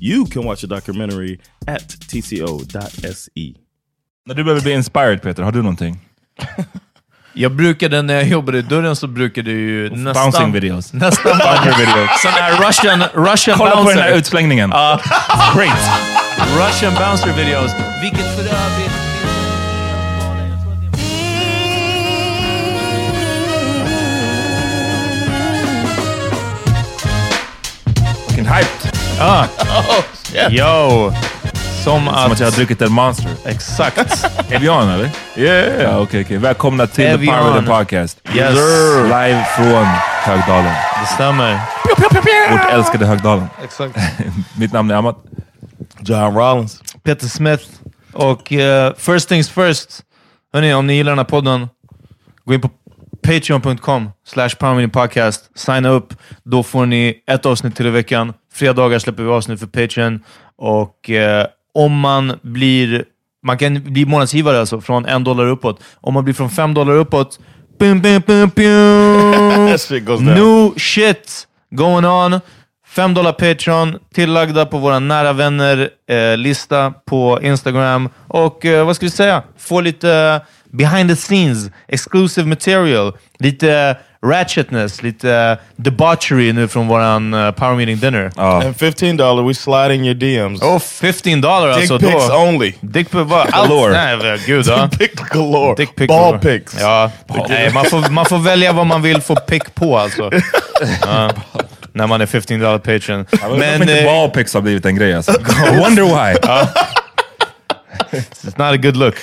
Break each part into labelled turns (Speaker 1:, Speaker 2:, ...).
Speaker 1: You can watch the documentary at tco.se.
Speaker 2: När du behöver bli inspired Peter, har du någonting?
Speaker 3: Jag brukade, när jag jobbade i dörren, så brukade jag ju nästan...
Speaker 2: Bouncing videos.
Speaker 3: Nästan
Speaker 2: Bunker videos.
Speaker 3: Sån här Russian, Russian
Speaker 2: Kolla på
Speaker 3: bouncer.
Speaker 2: den här utslängningen. Great!
Speaker 3: Russian bouncer videos. Vilket för övrigt...
Speaker 2: Fucking hyped!
Speaker 3: Yo! Som
Speaker 2: Som att
Speaker 3: att...
Speaker 2: jag har druckit en Monster.
Speaker 3: Exakt.
Speaker 2: Är vi on eller?
Speaker 3: Yeah!
Speaker 2: Ja, okej, okej. Välkomna till
Speaker 3: Är
Speaker 2: The
Speaker 3: vi
Speaker 2: Power of
Speaker 3: on?
Speaker 2: the Podcast.
Speaker 3: Yes.
Speaker 2: Live från Högdalen.
Speaker 3: Det stämmer.
Speaker 2: Vårt älskade Högdalen.
Speaker 3: Exakt.
Speaker 2: Mitt namn är Amat.
Speaker 1: John Rollins.
Speaker 3: Peter Smith. Och eh, first things first. Hörrni, om ni gillar den här podden, gå in på patreon.com slash podcast. Signa upp. Då får ni ett avsnitt till i veckan. Fredagar släpper vi avsnitt för Patreon. Och eh, om man blir... Man kan bli månadsgivare alltså, från en dollar uppåt. Om man blir från fem dollar uppåt... Bum, bum, bum, bum.
Speaker 1: That shit goes down.
Speaker 3: No shit going on. 5 dollar Patreon, tillagda på våra nära vänner-lista på Instagram. Och eh, vad ska vi säga? Få lite eh, behind the scenes, exclusive material, lite eh, ratchetness, lite eh, debauchery nu från våran eh, Power Meeting Dinner.
Speaker 1: And $15, we slide in your DMs.
Speaker 3: Och 15 dollar
Speaker 1: Dick
Speaker 3: alltså.
Speaker 1: pics
Speaker 3: då.
Speaker 1: only.
Speaker 3: Dick pics var allt.
Speaker 1: Galore.
Speaker 3: Nej, men gud. ja.
Speaker 1: Dick galore.
Speaker 3: Dick pic
Speaker 1: Ball
Speaker 3: galore.
Speaker 1: pics.
Speaker 3: Ja, nej, man, får, man får välja vad man vill få pick på alltså. Ja, när man är 15 dollar patron.
Speaker 2: Men
Speaker 3: Men
Speaker 2: inte
Speaker 3: eh,
Speaker 2: ballpics har blivit en grej alltså. Wonder why.
Speaker 3: it's not a good look.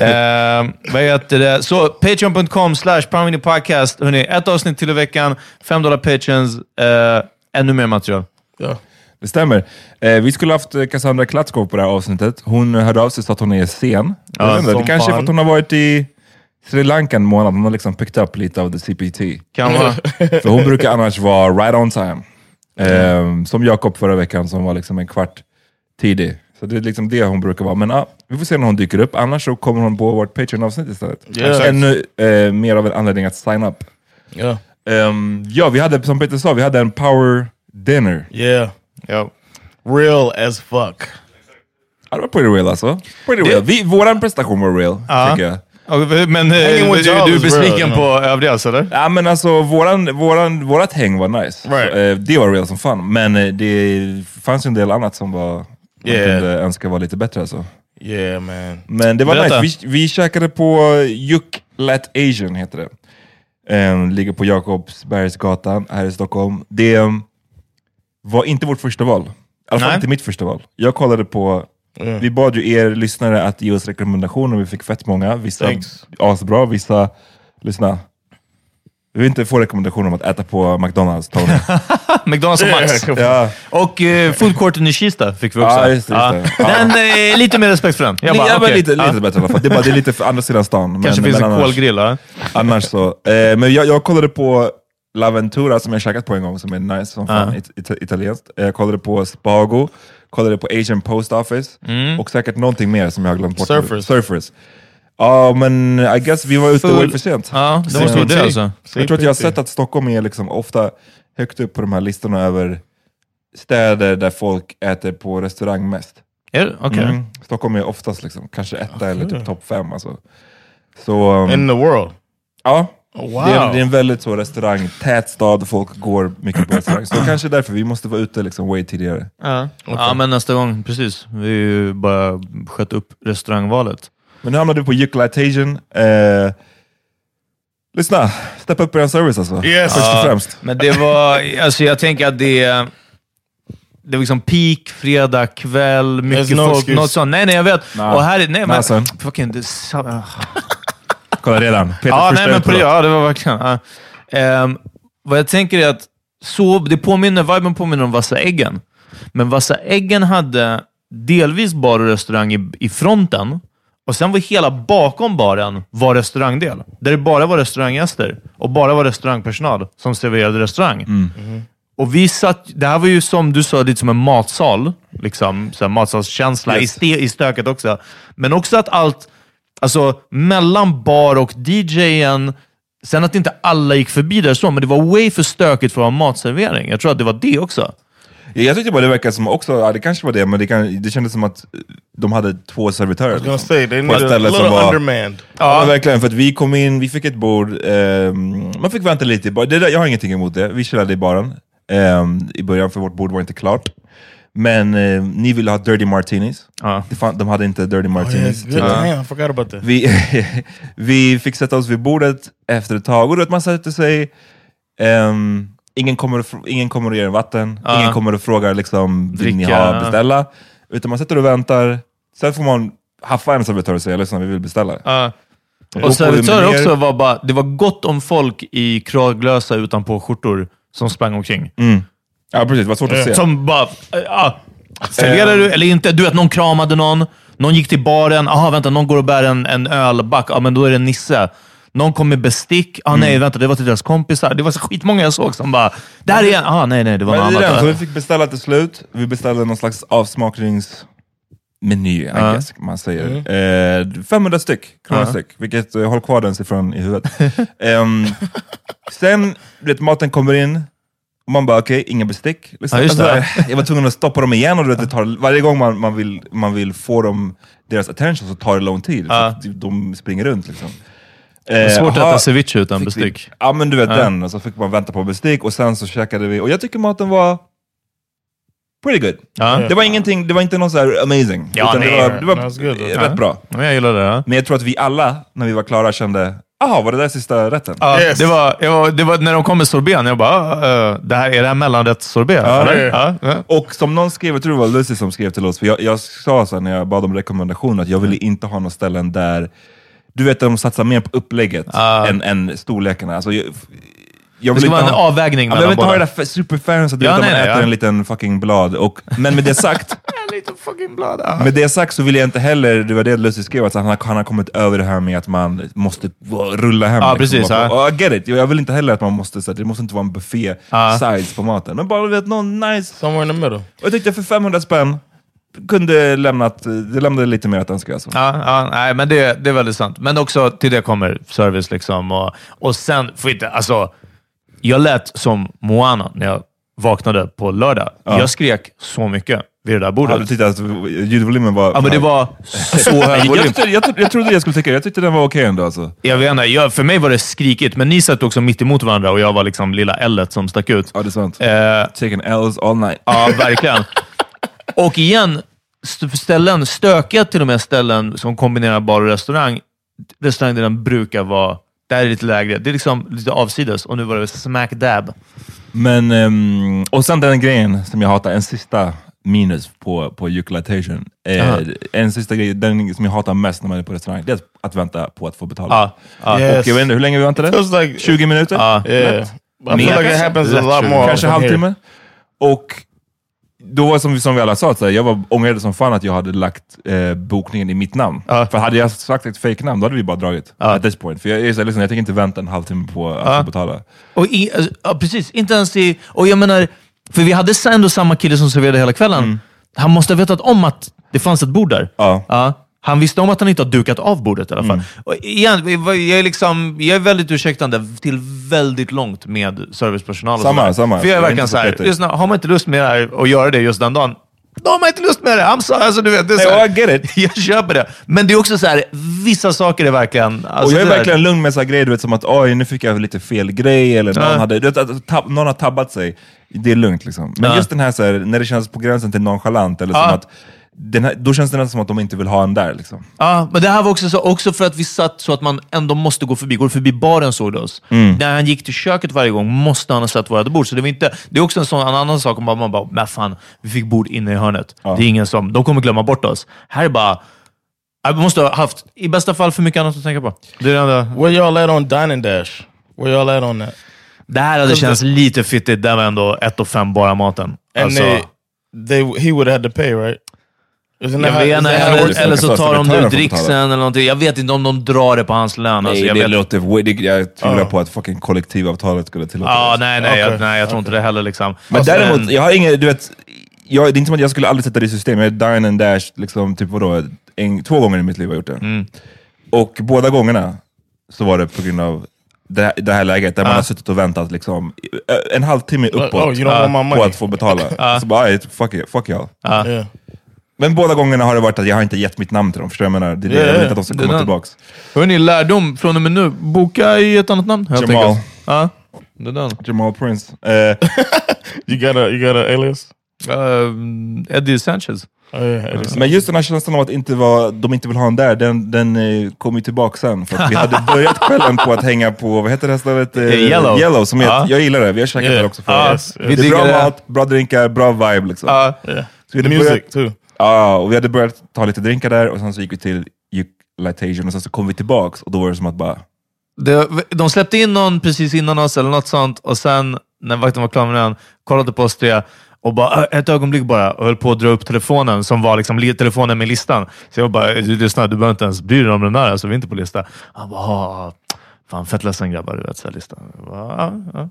Speaker 3: Eh, vad heter det? Så patreon.com slash Poundmini podcast. Hörrni, ett avsnitt till i veckan. 5 dollar patrons. eh, ännu mer material.
Speaker 2: Det stämmer. Eh, vi skulle haft eh, Cassandra eh, Klatskov på det här avsnittet. Hon hörde av sig så att hon är sen. Jag vet inte,
Speaker 1: som
Speaker 2: det kanske är för
Speaker 1: fan.
Speaker 2: att hon har varit i Sri Lankan månad, hon har liksom picked up lite av the CPT.
Speaker 3: Kan vara.
Speaker 2: För hon brukar annars vara right on time. Ehm, som Jakob förra veckan som var liksom en kvart tidig. Så det är liksom det hon brukar vara. Men ah, vi får se när hon dyker upp, annars så kommer hon på vårt Patreon-avsnitt istället.
Speaker 1: Ja, exakt.
Speaker 2: Ännu eh, mer av en anledning att sign up.
Speaker 1: Yeah.
Speaker 2: Ehm, ja, vi hade, som Peter sa, vi hade en power dinner.
Speaker 1: Yeah.
Speaker 3: Ja.
Speaker 1: Real as fuck.
Speaker 2: Ja, det var pretty real alltså. Pretty
Speaker 3: Det-
Speaker 2: real. Vi, våran prestation var real,
Speaker 3: Ja.
Speaker 2: tycker jag.
Speaker 3: Och, Men eh,
Speaker 1: Hanging
Speaker 3: du,
Speaker 1: with
Speaker 3: du är
Speaker 1: Jarvis,
Speaker 3: besviken
Speaker 1: bro.
Speaker 3: på övriga alltså, eller?
Speaker 2: Ja, men alltså våran, våran, vårat häng var nice.
Speaker 1: Right.
Speaker 2: Så, eh, det var real som fan. Men eh, det fanns ju en del annat som var, man
Speaker 1: Yeah.
Speaker 2: kunde önska var lite bättre alltså.
Speaker 1: Yeah, man.
Speaker 2: Men det var
Speaker 3: Berätta.
Speaker 2: nice. Vi, vi käkade på Yuk Lat Asian, heter det. Ehm, ligger på Jakobsbergsgatan här i Stockholm. Det ehm, var inte vårt första val. I alla fall
Speaker 3: Nej.
Speaker 2: inte mitt första val. Jag kollade på, vi bad ju er lyssnare att ge oss rekommendationer, vi fick fett många. Vissa
Speaker 1: Thanks.
Speaker 2: asbra, vissa, lyssna. Vi vill inte få rekommendationer om att äta på McDonalds, Tony.
Speaker 3: McDonalds och Max.
Speaker 2: ja.
Speaker 3: Och eh, foodcourten i Kista fick vi också.
Speaker 2: Ja, just det, just det. Ja.
Speaker 3: Den, eh, lite mer respekt för den. Jag
Speaker 2: Jag
Speaker 3: bara,
Speaker 2: bara,
Speaker 3: okej.
Speaker 2: lite,
Speaker 3: Ja.
Speaker 2: lite bättre i alla fall. Det är, bara, det är lite för andra sidan stan.
Speaker 3: Kanske finns en
Speaker 2: annars-
Speaker 3: kolgrill, ja.
Speaker 2: Annars så. Eh, men jag, jag kollade på Laventura som jag käkat på en gång, som är nice som fan,
Speaker 3: Ja.
Speaker 2: it, it, italienskt. Eh, Jag kollade på Spago, kollade på Asian Post Office
Speaker 3: Mm.
Speaker 2: och säkert någonting mer som jag har glömt bort. nu.
Speaker 1: Surfers.
Speaker 2: Surfers. Ja, men I guess vi var ute
Speaker 3: Full-
Speaker 2: för sent.
Speaker 3: Ja, det måste
Speaker 2: Så-
Speaker 3: vara det alltså.
Speaker 2: Jag tror att jag har sett att Stockholm är liksom ofta högt upp på de här listorna över städer där folk äter på restaurang mest.
Speaker 3: Är det? Okej.
Speaker 2: Mm. Stockholm är oftast liksom, kanske etta eller typ topp fem. Alltså. Så, um,
Speaker 1: In the world.
Speaker 2: ja,
Speaker 1: Wow.
Speaker 2: det, är, det är en väldigt så restaurangtät stad, folk går mycket på restaurang. Så kanske därför vi måste vara ute liksom way tidigare.
Speaker 3: Ja. ja, men nästa gång. Precis. Vi har ju bara skött upp restaurangvalet.
Speaker 2: Men nu hamnade vi på Yucalitation. Eh, lyssna, step up er service alltså.
Speaker 1: Yes.
Speaker 2: Först och
Speaker 1: Ja.
Speaker 2: främst.
Speaker 3: Men det var... Alltså jag tänker att det... Det var liksom peak, fredag kväll, mycket
Speaker 1: no
Speaker 3: folk.
Speaker 1: excuse.
Speaker 3: Något sånt. Nej, nej, jag vet.
Speaker 2: Nej.
Speaker 3: Och här är... Nej, men...
Speaker 2: Alltså.
Speaker 3: Fucking... Det, ah. sa-
Speaker 2: Kolla redan, Peter
Speaker 3: ja,
Speaker 2: första
Speaker 3: nej, men
Speaker 2: ut,
Speaker 3: på det,
Speaker 2: förlåt.
Speaker 3: ja, det var verkligen... Ja. Ehm, vad jag tänker är att så, det påminner, viben påminner om Vassa äggen. Men Vassa äggen hade delvis bar och restaurang i, i fronten och sen var hela bakom baren var restaurangdel. Där det bara var restauranggäster och bara var restaurangpersonal som serverade restaurang. Och vi satt, det här var ju som du sa, lite som en matsal. Liksom, så här matsalskänsla i,
Speaker 2: Yes.
Speaker 3: ste, i stöket också. Men också att allt, alltså mellan bar och DJen, sen att inte alla gick förbi där så, men det var way för stökigt för att vara matservering. Jag tror att det var det också.
Speaker 2: Jag tyckte bara det verkade som också, ja, det kanske var det, men det, kan, det kändes som att eh, de hade två servitörer.
Speaker 1: I was
Speaker 2: liksom.
Speaker 1: gonna say they
Speaker 2: På ett
Speaker 1: need a
Speaker 2: ställe som
Speaker 1: little
Speaker 2: var-
Speaker 1: undermanned.
Speaker 2: Ja. men verkligen. För att vi kom in, vi fick ett bord, ehm, man fick vänta lite. i bar- Det där, jag har ingenting emot det. Vi chillade i baren ehm, i början, för vårt bord var inte klart. Men eh, ni ville ha dirty martinis.
Speaker 3: Ja.
Speaker 2: Det fan, de hade inte dirty martinis.
Speaker 1: Good, damn, I forgot about that.
Speaker 2: vi, vi fick sätta oss vid bordet efter ett tag, och du vet, man sätter sig, ehm, ingen, kommer, och fr- ingen kommer och ger en vatten,
Speaker 3: Ja.
Speaker 2: ingen kommer och frågar liksom, vill ni
Speaker 3: Dricka.
Speaker 2: ha beställa? Utan man sitter och väntar, sen får man haffa en servitör och säga lyssna, vi vill beställa.
Speaker 3: Ja.
Speaker 2: Då
Speaker 3: och
Speaker 2: får vi
Speaker 3: servitörer
Speaker 2: menyer.
Speaker 3: också var bara, det var gott om folk i kraglösa utanpå skjortor som sprang omkring.
Speaker 2: Ja precis, det var
Speaker 3: Eh,
Speaker 2: svårt att se.
Speaker 3: Som bara,
Speaker 2: eh, ah.
Speaker 3: ja. Serverar du eller inte? Du vet, någon kramade någon. Någon gick till baren. Aha, vänta, någon går och bär en, en ölback. Ja, men då är det Nisse. Någon kom med bestick. Ah,
Speaker 2: Mm.
Speaker 3: nej, vänta, det var till deras kompisar. Det var så skitmånga jag såg som bara, där är en. Ah, nej, nej, det var något
Speaker 2: Men det är den,
Speaker 3: annat.
Speaker 2: så vi fick beställa till slut. Vi beställde någon slags avsmakningsmeny, I guess, man säger. Eh, 500 styck, kronor styck, vilket eh, håll kvar den siffran i huvudet. Ehm, sen, du vet, maten kommer in, och man bara okej, inga bestick. Liksom.
Speaker 3: Ja, just det.
Speaker 2: jag var tvungen att stoppa dem igen, och du vet, det tar, varje gång man, man, vill, man vill få dem, deras attention så tar det lång tid. För att de springer runt liksom. Eh,
Speaker 3: Det är svårt att äta
Speaker 2: aha.
Speaker 3: ceviche utan
Speaker 2: Fick vi-
Speaker 3: bestick.
Speaker 2: Ja men du vet den, och så fick man vänta på bestick och sen så käkade vi, och jag tycker maten var pretty good.
Speaker 3: Ja.
Speaker 2: Det var ingenting, det var inte någon så här amazing,
Speaker 3: Ja,
Speaker 2: utan
Speaker 3: nej.
Speaker 2: det var, det var
Speaker 1: No, it's good.
Speaker 2: eh,
Speaker 1: Ja.
Speaker 2: rätt bra.
Speaker 3: Men jag gillar det. Ja.
Speaker 2: Men jag tror att vi alla, när vi var klara, kände, jaha, var det där sista rätten?
Speaker 3: Ja,
Speaker 1: Yes.
Speaker 3: det, var, jag var, det var när de kom med sorbeten. Jag bara, ah, eh, det här, är det här mellanrättssorbet? eller?
Speaker 1: ja.
Speaker 3: Ja, ja.
Speaker 2: Och som någon skrev, jag tror det var Lucy som skrev till oss, för jag, jag sa så här, när jag bad om rekommendationer att jag ville
Speaker 3: Mm.
Speaker 2: inte ha några ställen där, du vet de satsar mer på upplägget än, än storlekarna. Alltså, jag, jag
Speaker 3: Ah. Det
Speaker 2: vill
Speaker 3: ska
Speaker 2: inte
Speaker 3: vägning en
Speaker 2: ha-
Speaker 3: avvägning
Speaker 2: Ja, men
Speaker 3: mellan
Speaker 2: jag vill inte ha det
Speaker 3: båda.
Speaker 2: där superfancy, du
Speaker 3: Ja,
Speaker 2: vet att
Speaker 3: nej,
Speaker 2: man
Speaker 3: nej,
Speaker 2: äter
Speaker 3: ja.
Speaker 2: en liten fucking blad. Och, men med det sagt,
Speaker 3: lite fucking blöda.
Speaker 2: Med det sagt så vill jag inte heller, det var det Lustig skrev, att han, har- han har kommit över det här med att man måste rulla hem. liksom.
Speaker 3: Ja, precis,
Speaker 2: Bara,
Speaker 3: ja.
Speaker 2: och I get it. Jag vill inte heller att man måste, så här, det måste inte vara en buffé sides på maten. Men bara du vet, någon nice.
Speaker 4: Somewhere in the middle.
Speaker 2: Och jag tyckte för 500 spänn, kunde lämnat, det lämnade lite mer att önska. Alltså.
Speaker 3: Ja, ja, nej, men det, det är väldigt sant. Men också till det kommer service. liksom. Och, och sen, får inte, alltså, jag lät som Moana när jag vaknade på lördag. Jag skrek så mycket vid det där
Speaker 2: Ja, du
Speaker 3: bordet.
Speaker 2: tyckte att ljudvolymen var...
Speaker 3: Ja, men det var så hög
Speaker 2: jag,
Speaker 3: volym.
Speaker 2: tyckte, jag, tyckte- jag trodde jag skulle tycka det. Jag tyckte den var okej ändå. Alltså.
Speaker 3: Jag vet inte, jag, för mig var det skrikigt, men ni satt också mitt emot varandra och jag var liksom lilla L som stack ut.
Speaker 2: Ja, det är sant.
Speaker 3: Eh,
Speaker 2: Taking L's all night.
Speaker 3: Ja, verkligen. Och igen, st- ställen, stökiga till och med ställen som kombinerar bar och restaurang. Restaurangdelen brukar vara, där är det lite lägre. Det är liksom lite avsides och nu var det smack dab.
Speaker 2: Men, ehm, och sen den grejen som jag hatar, en sista minus på, på Euclitation. Eh,
Speaker 3: Aha.
Speaker 2: en sista grej, den som jag hatar mest när man är på restaurang, det är att vänta på att få betala.
Speaker 3: Ja, ja.
Speaker 4: Yes.
Speaker 2: Och jag vet inte, hur länge vi väntade?
Speaker 4: Feels like
Speaker 2: 20 minuter?
Speaker 3: Ja.
Speaker 4: yeah. I feel
Speaker 2: Mer
Speaker 4: like
Speaker 2: kanske?
Speaker 4: it happens a lot more.
Speaker 2: Kanske
Speaker 4: often here.
Speaker 2: halvtimme? Och då var som, som vi alla sa, att så här, jag var ångrade som fan att jag hade lagt eh, bokningen i mitt namn. För hade jag sagt ett fake namn då hade vi bara dragit. At this point. För jag, jag, är så här, liksom, jag tänker inte vänta en halvtimme på att få betala.
Speaker 3: Och i, alltså, ja, precis. Inte ens i... Och jag menar, för vi hade sen ändå samma kille som serverade hela kvällen. Han måste ha vetat om att det fanns ett bord där.
Speaker 2: Mm. Ja. Mm.
Speaker 3: Han visste om att han inte har dukat av bordet i alla fall. Och igen, vi- vi- jag är, liksom, jag är väldigt ursäktande till väldigt långt med servicepersonal. och
Speaker 2: Samma,
Speaker 3: sådär.
Speaker 2: samma.
Speaker 3: För jag är
Speaker 2: Jag är
Speaker 3: verkligen
Speaker 2: inte så
Speaker 3: såhär,
Speaker 2: petig.
Speaker 3: lyssna, har man inte lust med det här och göra det just den dagen, då har man inte lust med det. I'm sorry. Alltså, du vet, det är
Speaker 2: Nej,
Speaker 3: så här-
Speaker 2: och I get it.
Speaker 3: jag köper det. Men det är också så här, vissa saker är verkligen... alltså,
Speaker 2: Och jag är
Speaker 3: det där-
Speaker 2: verkligen lugn med så här grejer, du vet, som att oj, nu fick jag lite fel grej, eller någon,
Speaker 3: Ja.
Speaker 2: hade, du vet, att tab- någon har tabbat sig. Det är lugnt liksom. Men
Speaker 3: Ja.
Speaker 2: just den här, så här, när det känns på gränsen till nonchalant, eller
Speaker 3: Ja.
Speaker 2: som att, den här, då känns det nästan som att de inte vill ha en där. Liksom.
Speaker 3: Ja, men det här var också, så, också för att vi satt så att man ändå måste gå förbi. Går du förbi baren såg du oss.
Speaker 2: Mm.
Speaker 3: När han gick till köket varje gång måste han ha sett vårt bord. Så det, var inte, det är också en, sån, en annan sak om man man bara, men fan, vi fick bord inne i hörnet. Det är ingen som, de kommer glömma bort oss. Här är bara, jag måste ha haft, i bästa fall, för mycket annat att tänka på. Det, är det, enda.
Speaker 4: Where y'all at on Dine and Dash? Where y'all at on that?
Speaker 3: det här hade känts lite fittigt. Det var ändå ett och fem bara maten.
Speaker 4: And
Speaker 3: Alltså,
Speaker 4: they, they, he would have had to pay, right? Isn't
Speaker 3: jag
Speaker 4: how-
Speaker 3: vet,
Speaker 4: isn't
Speaker 3: inte,
Speaker 4: how it
Speaker 3: eller,
Speaker 2: liksom
Speaker 4: works?
Speaker 3: eller så tar de
Speaker 2: Servitören
Speaker 3: nu
Speaker 2: får
Speaker 3: dricksen
Speaker 2: betala.
Speaker 3: eller någonting. Jag vet inte om de drar det på hans lön. alltså, jag vet
Speaker 2: låter, jag tvivlar på att fucking kollektivavtalet skulle tillåta
Speaker 3: Ja, nej, nej, jag,
Speaker 4: Okej.
Speaker 3: nej, jag tror inte det heller. Liksom.
Speaker 2: Men
Speaker 3: Alltså,
Speaker 2: däremot, jag har ingen, du vet, jag, det är inte som att jag skulle aldrig sätta det i system. Jag är dine and dash, liksom, typ vadå, en, två gånger i mitt liv har jag gjort det.
Speaker 3: Mm.
Speaker 2: Och båda gångerna så var det på grund av det här, det här läget, där man har suttit och väntat liksom, eh, en halvtimme uppåt
Speaker 4: oh, you don't want my
Speaker 2: på
Speaker 4: money.
Speaker 2: att få betala. så bara, "Aj, fuck, it, fuck y'all.
Speaker 4: Yeah.
Speaker 2: Men båda gångerna har det varit att jag har inte gett mitt namn till dem, förstår du vad jag menar? Det är det, jag vill inte att de ska
Speaker 3: Det
Speaker 2: komma
Speaker 3: där-
Speaker 2: tillbaks.
Speaker 3: Hörrni, lärdom från och med nu. Boka i ett annat namn helt
Speaker 2: Jamal.
Speaker 3: enkelt. Ja, det är den.
Speaker 2: Jamal Prince. Eh,
Speaker 4: You got a you got an alias?
Speaker 3: Ehm, Eddie Sanchez.
Speaker 4: Oh, yeah, alias.
Speaker 2: Men just den här känslan av att inte vara, de inte vill ha en där, den, den eh, kom ju tillbaka sen. För att vi hade börjat kvällen på att hänga på, vad heter det här stället? Eh,
Speaker 3: Yellow.
Speaker 2: som jag,
Speaker 3: Ja. Eh,
Speaker 2: jag gillar det. Vi har käkat
Speaker 4: Yeah.
Speaker 2: där också förut.
Speaker 4: Ja,
Speaker 2: Det
Speaker 3: vi
Speaker 2: är bra
Speaker 3: diggar det.
Speaker 2: mat, bra drinkar, bra vibe liksom.
Speaker 3: Ja,
Speaker 2: Så vi hade börjat,
Speaker 4: Music too.
Speaker 2: ja, och vi hade börjat ta lite drinkar där och sen så gick vi till Litation och sen så kom vi tillbaks och då var det som att bara,
Speaker 3: det, de släppte in någon precis innan oss eller något sånt och sen när vakten var klar med den, kollade på oss tre och bara "Äh, ett ögonblick bara och höll på att dra upp telefonen som var liksom li- telefonen med listan. Så jag bara, du lyssna, du behöver inte ens bry dig om den där, alltså, vi är inte på lista. Han bara, "Ah, fan fett ledsen grabbar, du vet, så här, listan. Jag bara, "Ja, ja."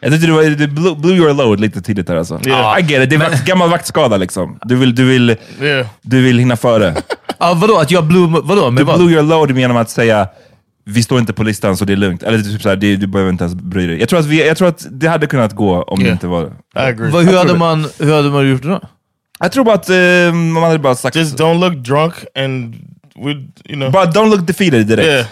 Speaker 2: jag tyckte det, var, det blew, blew your load lite tidigt där alltså.
Speaker 4: Yeah.
Speaker 2: I get it, det är vakt, gammal vaktskada liksom. Du vill, du vill,
Speaker 4: Yeah.
Speaker 2: du vill hinna före.
Speaker 3: Ja, Ah, vadå? Att jag blew... Vadå?
Speaker 2: Du
Speaker 3: Med vad?
Speaker 2: blew your load genom att säga vi står inte på listan så det är lugnt. Eller typ såhär, det, du behöver inte ens bry dig. Jag tror att, vi, jag tror att det hade kunnat gå om det
Speaker 4: Yeah.
Speaker 2: inte var det.
Speaker 4: I agree.
Speaker 3: Vad- hur, hade man, hur hade man gjort det då?
Speaker 2: Jag tror bara att eh, man hade bara sagt...
Speaker 4: Just don't look drunk and we you know
Speaker 2: bara don't look defeated direkt.
Speaker 4: yeah.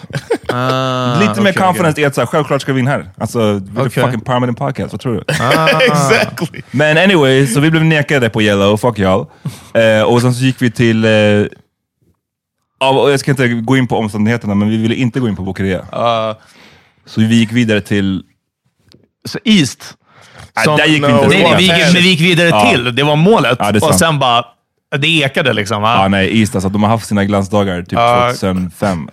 Speaker 3: Ah,
Speaker 4: Ah,
Speaker 2: Lite mer confidence i att såhär, självklart ska vi in här. Alltså, we're
Speaker 3: Okej.
Speaker 2: the fucking permanent podcast, vad tror du?
Speaker 4: Ah. exactly.
Speaker 2: Men anyway, så vi blev nekade på Yellow, fuck y'all. Eh, och sen så gick vi till... Eh, av- och jag ska inte gå in på omständigheterna, men vi ville inte gå in på Bokeria.
Speaker 4: Ah.
Speaker 2: Så vi gick vidare till...
Speaker 3: Så East?
Speaker 2: Nej,
Speaker 3: Som-
Speaker 2: där gick vi
Speaker 4: no,
Speaker 2: inte.
Speaker 3: Nej, nej, vi gick, men vi gick vidare
Speaker 2: Ja.
Speaker 3: till. Det var målet.
Speaker 2: Ja, det är
Speaker 3: och
Speaker 2: sant.
Speaker 3: sen bara... Det ekade liksom. Va?
Speaker 2: Ja, nej, East alltså. De har haft sina glansdagar typ
Speaker 3: Ja.
Speaker 2: 2005.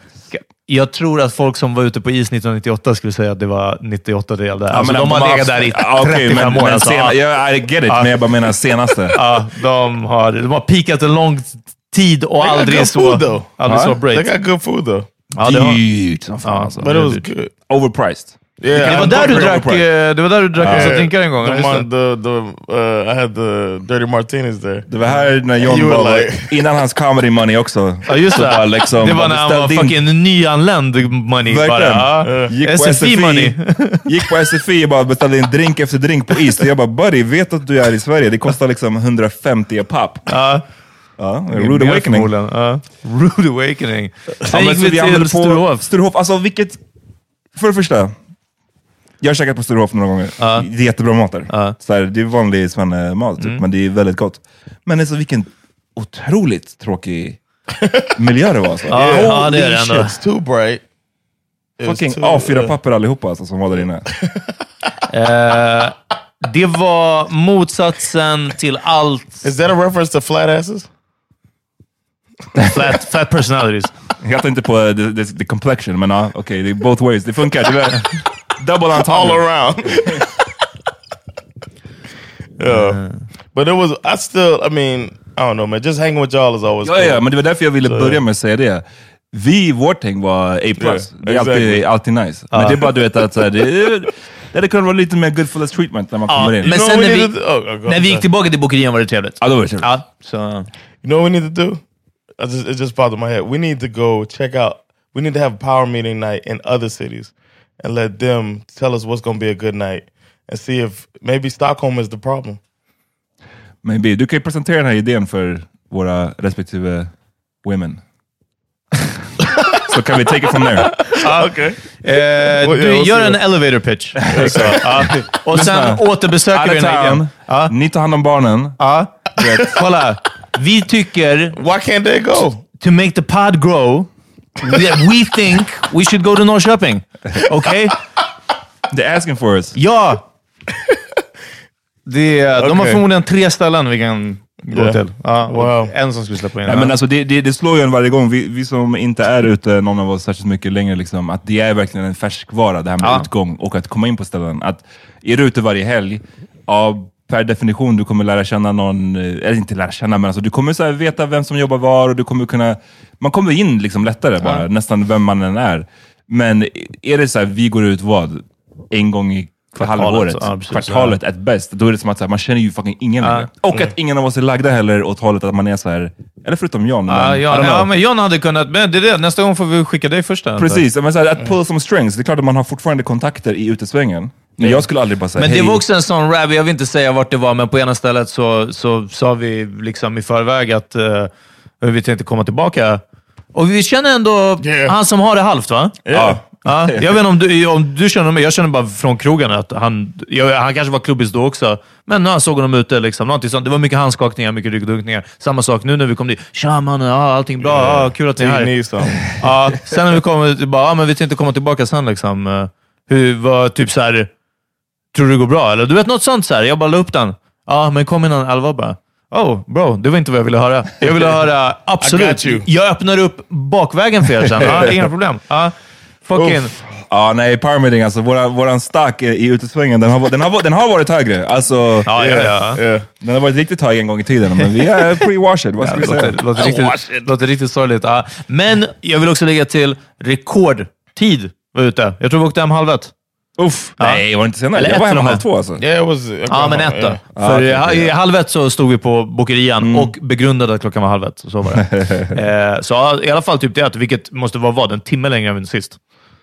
Speaker 3: jag tror att folk som var ute på is 1998 skulle säga att det var 98 del där.
Speaker 2: Ja,
Speaker 3: alltså,
Speaker 2: men
Speaker 3: de har legat där i
Speaker 2: Ja, okej,
Speaker 3: 35
Speaker 2: men,
Speaker 3: år.
Speaker 2: Men
Speaker 3: alltså.
Speaker 2: sena, ja, I get it, men jag bara menar senaste.
Speaker 3: Ja, de har, de har peakat en lång tid och
Speaker 4: got
Speaker 3: aldrig
Speaker 4: good
Speaker 3: så,
Speaker 4: food though.
Speaker 3: aldrig så
Speaker 4: They
Speaker 3: break.
Speaker 4: got good food though.
Speaker 3: Ja, det, har,
Speaker 2: Dyrt som fan alltså.
Speaker 4: But it was good.
Speaker 2: Overpriced.
Speaker 4: Yeah,
Speaker 3: det, var
Speaker 4: I'm
Speaker 3: där du
Speaker 4: comfortable.
Speaker 3: drack, eh, det var där du drack massa drinkar en gång.
Speaker 4: The,
Speaker 3: ja, just det.
Speaker 4: mon- the, the, uh, I had the dirty martinis there.
Speaker 2: Det var här när
Speaker 4: You
Speaker 2: John
Speaker 4: were
Speaker 2: var,
Speaker 4: like-
Speaker 2: innan hans comedy money också.
Speaker 3: Ja, just
Speaker 2: Så
Speaker 3: det.
Speaker 2: bara liksom,
Speaker 3: det var när han var
Speaker 2: ställde in-
Speaker 3: fucking nyanländ money. Bara,
Speaker 2: Verkligen.
Speaker 3: ja.
Speaker 2: Gick på
Speaker 3: SFI money.
Speaker 2: Gick på SFI och bara beställde in drink efter drink på is. Och jag bara, buddy, vet att du är i Sverige? Det kostar liksom 150 papp.
Speaker 3: Ja.
Speaker 2: Ja, rude awakening.
Speaker 3: Förmodligen, ja. Rude awakening. Sen
Speaker 2: men
Speaker 3: gick
Speaker 2: så
Speaker 3: vi
Speaker 2: hamnade
Speaker 3: till
Speaker 2: på
Speaker 3: Sturehof.
Speaker 2: Sturehof, alltså vilket... För det första, jag har käkat på Sturehof några gånger. Det är jättebra mat där. Så här, det är vanlig svennemat, typ,
Speaker 3: Mm.
Speaker 2: men det är väldigt gott. Men alltså vilken otroligt tråkig miljö det var. Alltså.
Speaker 3: Ja, ja, det är
Speaker 4: Holy
Speaker 3: det
Speaker 4: shit,
Speaker 3: ändå.
Speaker 4: It's too bright. It was
Speaker 2: Fucking
Speaker 4: too-
Speaker 2: A4-papper allihopa alltså, som var där inne.
Speaker 3: Eh, det var motsatsen till allt
Speaker 4: Is that a reference to flat asses?
Speaker 3: flat, fat personalities.
Speaker 2: Jag hittar inte på eh, the, the, the complexion, men ja, okej, det är both ways. Det funkar. Det var double
Speaker 4: All
Speaker 2: entendre.
Speaker 4: around.
Speaker 3: Uh.
Speaker 4: yeah. But it was, I still, I mean, I don't know man, just hanging with y'all is always
Speaker 2: Ja,
Speaker 4: cool.
Speaker 2: ja, men det var därför jag ville
Speaker 4: Så-
Speaker 2: börja med att säga det. Vi, vårt häng var A+.
Speaker 4: Ja,
Speaker 2: det är alltid,
Speaker 4: exactly.
Speaker 2: alltid nice. Men det är bara du vet att så här, det, det hade kunnat vara lite mer good for the treatment när man
Speaker 3: Ja,
Speaker 2: kommer in.
Speaker 3: men
Speaker 4: know
Speaker 3: sen
Speaker 4: what
Speaker 3: när
Speaker 4: we
Speaker 3: vi,
Speaker 4: need to do? Oh, oh, go
Speaker 3: när
Speaker 4: on,
Speaker 3: vi gick
Speaker 4: sorry.
Speaker 3: tillbaka till bokerian var det trevligt.
Speaker 4: Alltså-
Speaker 2: Ja, det var det trevligt.
Speaker 3: Ja, så.
Speaker 4: You know what we need to do? I just it just popped in my head. We need to go check out. We need to have a power meeting night in other cities, and let them tell us what's going to be a good night, and see if maybe Stockholm is the problem.
Speaker 2: Men B, du kan ju presentera den här idén för våra respektive women. Så kan vi take it from there.
Speaker 4: okay.
Speaker 3: Eh,
Speaker 4: Uh, Well, yeah,
Speaker 3: du
Speaker 4: we'll
Speaker 3: gör
Speaker 4: see.
Speaker 3: en elevator pitch. Så, ja. Och sen
Speaker 2: Out
Speaker 3: återbesöker vi
Speaker 2: of
Speaker 3: den här
Speaker 2: town,
Speaker 3: igen. Ja,
Speaker 2: ni tar hand om barnen.
Speaker 3: ja. Kolla. Vi tycker
Speaker 4: Why can't they go?
Speaker 3: to make the pod grow that we think we should go to Norrköping. Okay?
Speaker 2: They're asking for us.
Speaker 3: Ja! Det, är- De har
Speaker 4: Okej.
Speaker 3: förmodligen tre ställen vi kan gå
Speaker 4: Ja.
Speaker 3: till. Ja, och
Speaker 4: Wow.
Speaker 3: En som skulle släppa in.
Speaker 2: Nej, men alltså, det, det, det slår ju en varje gång. Vi, vi som inte är ute, någon av oss, särskilt mycket längre, liksom, att det är verkligen en färskvara, det här med
Speaker 3: Ja.
Speaker 2: utgång och att komma in på ställen. Att, är du ute varje helg, ja, per definition, du kommer lära känna någon, eh, eller inte lära känna, men alltså, du kommer så här, veta vem som jobbar var och du kommer kunna... Man kommer in liksom lättare bara, nästan vem man än är. Men är det så här, vi går ut vad? En gång i
Speaker 3: Kvartalet,
Speaker 2: halvåret,
Speaker 3: ja, precis.
Speaker 2: kvartalet at best, då är det som att så här, man känner ju fucking ingen
Speaker 3: Ja. Mm.
Speaker 2: längre. Och att ingen av oss är lagda heller åt hållet att man är så här. eller förutom John.
Speaker 3: ja,
Speaker 2: men, I
Speaker 3: ja,
Speaker 2: don't
Speaker 3: ja,
Speaker 2: know.
Speaker 3: men John hade kunnat... Men det är det. Nästa gång får vi skicka dig först. antar jag.
Speaker 2: Precis, men så här,
Speaker 3: Mm.
Speaker 2: att pull some strings. Det är klart att man har fortfarande kontakter i utesvängen. Men jag skulle aldrig bara säga
Speaker 3: Men
Speaker 2: hej.
Speaker 3: det var också en sån rab, jag vill inte säga vart det var, men på ena stället så, så sa vi liksom i förväg att eh, vi tänkte komma tillbaka. Och vi känner ändå
Speaker 4: Yeah.
Speaker 3: han som har det halvt, va?
Speaker 2: Ja.
Speaker 3: Ja, jag vet inte om du, om du känner mig. Jag känner bara från krogen att han, jag, han kanske var klubbis då också, men när jag såg honom ute, liksom, någonting sånt. det var mycket handskakningar, mycket ryggdunkningar. Samma sak nu när vi kom dit. Tja mannen, ja, allting bra, ja, kul att ni är
Speaker 4: You
Speaker 3: här.
Speaker 4: need some.
Speaker 3: Ja, sen när vi kom, det bara, ja, men vi tänkte komma tillbaka sen. Liksom. Eh, Hur var typ så här, tror du det går bra? Eller du vet något sånt. Så här. Jag bara la upp den. Ja, men kom innan elva bara. Oh, bro, det var inte vad jag ville höra. Jag ville höra, absolut.
Speaker 4: you.
Speaker 3: Jag öppnar upp bakvägen för er sen. Ja, inga problem. Ja, fucking.
Speaker 2: Ja, nej, power meeting alltså. Våra, våran stack i utesvängen, den har, den, har, den har varit högre. Alltså,
Speaker 3: Ja, ja, ja.
Speaker 4: Yeah.
Speaker 2: den har varit riktigt hög en gång i tiden, men vi är pre-washed. Vad ska vi
Speaker 3: Det
Speaker 2: säga?
Speaker 3: låter, låter, riktigt, låter riktigt sorgligt. Ja. Men jag vill också lägga till rekordtid var ute. Jag tror vi åkte hem halv ett.
Speaker 2: Uff, nej, var det inte senare?
Speaker 3: Eller
Speaker 2: jag var
Speaker 3: ett
Speaker 2: hemma
Speaker 3: till och
Speaker 2: halv
Speaker 3: med.
Speaker 2: två alltså.
Speaker 4: Yeah, it was. I
Speaker 3: Ja,
Speaker 4: come
Speaker 3: men
Speaker 4: out,
Speaker 3: ett då.
Speaker 4: yeah.
Speaker 3: För
Speaker 2: okej,
Speaker 3: i ha-
Speaker 2: okej,
Speaker 3: i halv ett så stod vi på bokerian och begrundade att klockan var halv ett. Så var det. eh, så ja, i alla fall typ det, att- vilket måste vara vad? En timme längre än sist.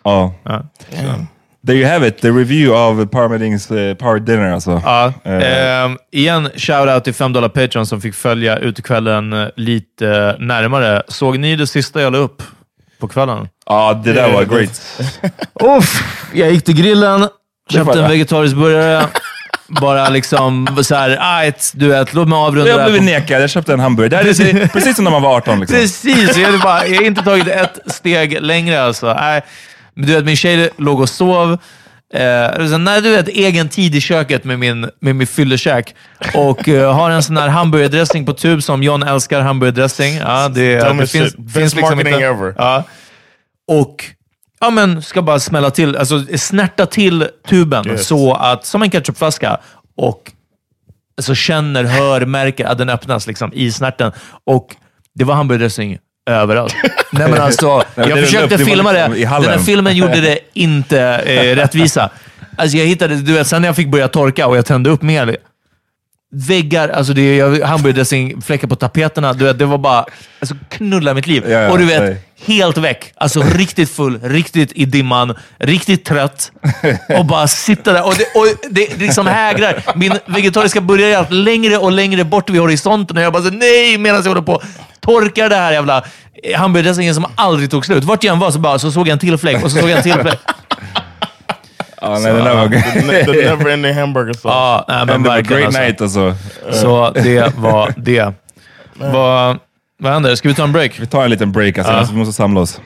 Speaker 2: Ja. There you have it, the review av power meetings eh, power dinner alltså.
Speaker 3: Ja.
Speaker 2: Eh,
Speaker 3: Ehm, igen, shoutout till 5 dollar Patreon som fick följa utekvällen eh, lite närmare. Såg ni det sista jag la upp på kvällen?
Speaker 2: Ja, det där var great.
Speaker 3: Uff, jag gick till grillen,
Speaker 2: var
Speaker 3: köpte en
Speaker 2: det.
Speaker 3: vegetarisk burgare. Bara liksom såhär, ajt, du vet, låt mig avrunda
Speaker 2: Jag
Speaker 3: här
Speaker 2: blev
Speaker 3: på-
Speaker 2: nekad, jag köpte en hamburgare. Det här är precis som när man var 18 liksom.
Speaker 3: Precis! Jag, hade bara, jag har inte tagit ett steg längre alltså. Nej, men du vet, min tjej låg och sov. Eh, sen, nej, du vet, egen tid i köket med min, med min fyllekäk. Och eh, har en sån här hamburgardressing på tub som John älskar. Hamburgardressing. Ja, det, det
Speaker 4: Dumbest
Speaker 3: finns,
Speaker 4: shit. Best
Speaker 3: finns liksom
Speaker 4: marketing
Speaker 3: inte.
Speaker 4: ever.
Speaker 3: Ja. Och ja, men ska bara smälla till, alltså snärta till tuben så att, som en ketchupflaska, och alltså, känner, hör, märker att den öppnas liksom, i snärten. Och det var hamburgardressing överallt. Nej, men alltså,
Speaker 2: men det
Speaker 3: jag
Speaker 2: är
Speaker 3: försökte
Speaker 2: väl upp- det var
Speaker 3: filma det.
Speaker 2: liksom i
Speaker 3: Den
Speaker 2: hallen.
Speaker 3: här filmen gjorde det inte eh, rättvisa. Alltså, jag hittade, du vet, sen när jag fick börja torka och jag tände upp mer, väggar, alltså det är jag- hamburgardressing, fläckar på tapeterna. Du vet, det var bara alltså, knulla mitt liv.
Speaker 2: Ja, ja,
Speaker 3: och du vet,
Speaker 2: nej.
Speaker 3: helt väck. Alltså riktigt full, riktigt i dimman, riktigt trött och bara sitta där. Och det, och det liksom hägrar. Min vegetariska burgare är allt längre och längre bort vid horisonten och jag bara så, nej, medan jag håller på torkar det här jävla hamburgardressingen som aldrig tog slut. Vart jag än var så, bara, så såg jag en till fläck och så såg jag en till fläck.
Speaker 2: Ja, nej, den där var
Speaker 4: The, the never ending hamburger sauce.
Speaker 3: Ja, nej, men
Speaker 2: Det var
Speaker 3: verkligen
Speaker 2: great
Speaker 3: alltså.
Speaker 2: night alltså.
Speaker 3: Så
Speaker 4: Eh.
Speaker 3: det var det. Eh. Vad, vad händer? Ska vi ta en break?
Speaker 2: Vi tar en liten break alltså, alltså vi måste samla oss.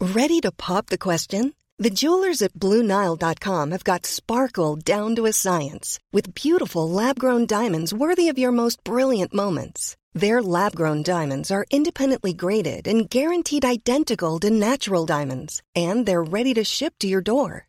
Speaker 5: Ready to pop the question? The jewelers at BlueNile.com have got sparkle down to a science with beautiful lab grown diamonds worthy of your most brilliant moments. Their lab grown diamonds are independently graded and guaranteed identical to natural diamonds, and they're ready to ship to your door.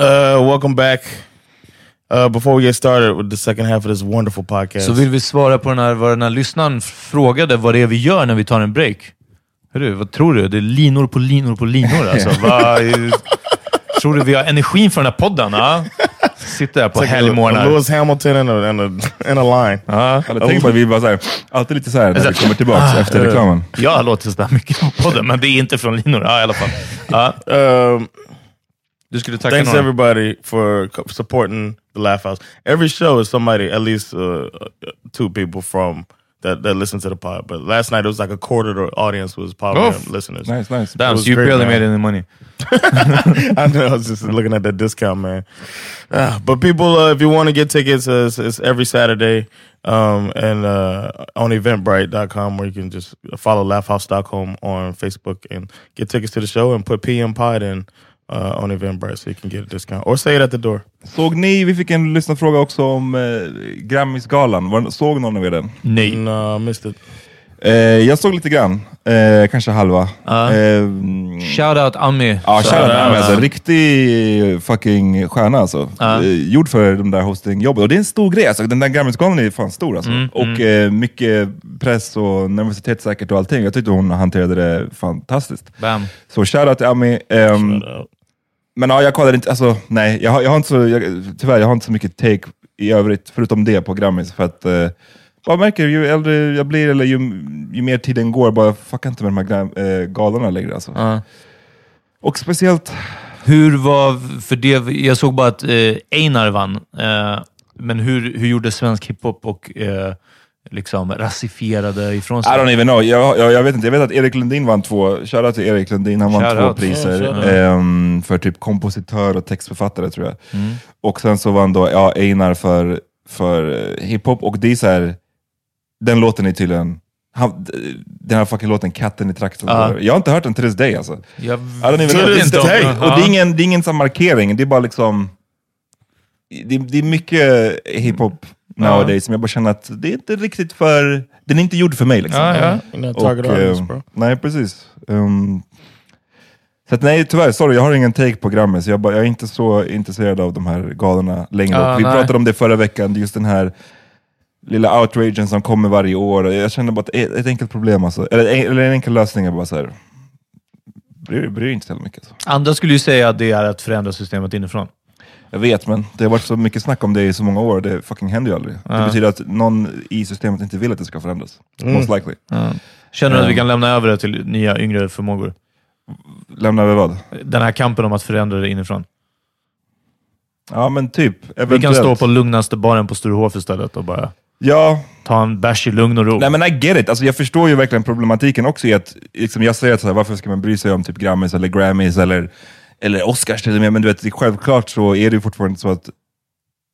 Speaker 4: Uh, welcome back. Uh, before we get started with the second half of this wonderful podcast,
Speaker 3: Så vill vi svara på den här, vad den här lyssnaren frågade, vad det är vi gör när vi tar en break. Hörru, vad tror du? Det är linor på linor på linor alltså. Vad- tror du vi har energin för den här podden? Ja? Sitter här på
Speaker 4: It's like a- a
Speaker 3: helgmorgnar.
Speaker 4: Lewis Hamilton and a, and a, and a line.
Speaker 3: Ja. Alltså, ah,
Speaker 2: Eller tänk på att vi bara såhär, alltid lite såhär när vi kommer tillbaka efter reklamen.
Speaker 3: Jag har låtit sådär mycket på podden, men det är inte från linor. Ja, i alla fall. Ja.
Speaker 4: Um,
Speaker 3: Du skulle tacka
Speaker 4: thanks
Speaker 3: någon.
Speaker 4: everybody for co- supporting the Laugh House. Every show is somebody, at least uh, uh, two people from that that listen to the pod. But last night it was like a quarter of the audience was pod
Speaker 3: Oof.
Speaker 4: listeners.
Speaker 2: Nice, nice.
Speaker 3: Damn,
Speaker 4: It
Speaker 3: so
Speaker 4: was
Speaker 3: you
Speaker 4: great,
Speaker 3: barely
Speaker 4: man.
Speaker 3: made any money.
Speaker 4: I know. I was just looking at that discount, man. Ah, but people, uh, if you want to get tickets, uh, it's, it's every Saturday um, and uh, on Eventbrite.com, where you can just follow Laugh House Stockholm on Facebook and get tickets to the show and put PM Pod in uh, on Eventbrite so you can get a discount or say it at the door.
Speaker 2: Såg ni, vi fick en lyssnarfråga också om eh, Grammisgalan. Var- Såg någon av er den?
Speaker 3: Nej.
Speaker 4: No, I missed it.
Speaker 2: Eh, jag såg lite grann, eh, kanske halva.
Speaker 3: Ja.
Speaker 2: Eh,
Speaker 3: Shoutout Ami.
Speaker 2: Ja,
Speaker 3: Så-
Speaker 2: Sharon Ahmed, alltså, riktig fucking stjärna alltså.
Speaker 3: Ja.
Speaker 2: Eh, gjord för de där hostingjobben. Och det är en stor grej alltså. Den där Grammisgalan är fan stor alltså.
Speaker 3: Mm,
Speaker 2: och Eh, mycket press och nervositet säkert och allting. Jag tyckte hon hanterade det fantastiskt.
Speaker 3: Bam.
Speaker 2: Så shoutout till Ami. Ehm, men ja, jag kollade inte, alltså nej, jag har, jag har inte så, jag, tyvärr, jag har inte så mycket take i övrigt, förutom det på Grammis, för att eh, jag märker ju äldre jag blir, eller ju, ju mer tiden går, bara jag fuckar inte med de här gram, eh, galorna längre alltså.
Speaker 3: Ja.
Speaker 2: Och speciellt,
Speaker 3: Hur var, för det, jag såg bara att eh, Einar vann, eh, men hur, hur gjorde svensk hiphop och eh, liksom rasifierade ifrån
Speaker 2: I
Speaker 3: sig?
Speaker 2: don't even know, jag, jag, jag vet inte, jag vet att Erik Lundin vann två, shoutout till Erik Lundin, han vann
Speaker 3: Shoutout.
Speaker 2: två priser
Speaker 4: Ja, shoutout.
Speaker 2: ehm, för typ kompositör och textförfattare tror jag.
Speaker 3: Mm.
Speaker 2: Och sen så vann då ja, Einar för, för eh, hiphop, och det är så här, den låten är tydligen, han, d- den här fucking låten Katten i traktorn.
Speaker 3: Ja.
Speaker 2: Jag har inte hört den till this day alltså.
Speaker 3: Jag
Speaker 2: I don't even
Speaker 4: To
Speaker 2: know. Det är
Speaker 4: this
Speaker 2: inte-
Speaker 4: day?
Speaker 2: Och det är ingen, det är ingen sån markering, det är bara liksom, det, är- det är mycket hiphop nowadays. Men jag bara känner att det är inte riktigt för... Den är inte gjord för mig. Liksom.
Speaker 3: Ja, ja.
Speaker 4: You're not target audience,
Speaker 2: ehm,
Speaker 4: bro.
Speaker 2: Nej, precis. Ehm, så att, nej, tyvärr. Sorry, jag har ingen take på Grammis. Jag, bara, jag är inte så intresserad av de här galorna längre.
Speaker 3: Ah,
Speaker 2: Och vi
Speaker 3: nej.
Speaker 2: pratade om det förra veckan, just den här lilla outragen som kommer varje år. Jag känner bara att ett, ett enkelt problem, alltså, eller, en- eller en enkel lösning är bara så här. Bryr, bryr inte så jävla mycket. Alltså.
Speaker 3: Andra skulle ju säga att det är att förändra systemet inifrån.
Speaker 2: Jag vet, men det har varit så mycket snack om det i så många år. Det fucking händer ju aldrig. Det
Speaker 3: Ja. Mm.
Speaker 2: betyder att någon i systemet inte vill att det ska förändras. Most likely.
Speaker 3: Känner du att vi kan lämna över det till nya yngre förmågor?
Speaker 2: Lämna över vad?
Speaker 3: Den här kampen om att förändra det inifrån.
Speaker 2: Ja, men typ.
Speaker 3: Vi kan
Speaker 2: Eventuellt.
Speaker 3: stå på lugnaste baren på Sturehof istället och bara
Speaker 2: Ja,
Speaker 3: ta en bärs i lugn och ro.
Speaker 2: Nej men I get it. Alltså, jag förstår ju verkligen problematiken också i att, liksom, jag säger att så här, varför ska man bry sig om typ Grammys eller Grammys eller, eller Oscars till och med, men du vet, det är självklart så är det ju fortfarande så att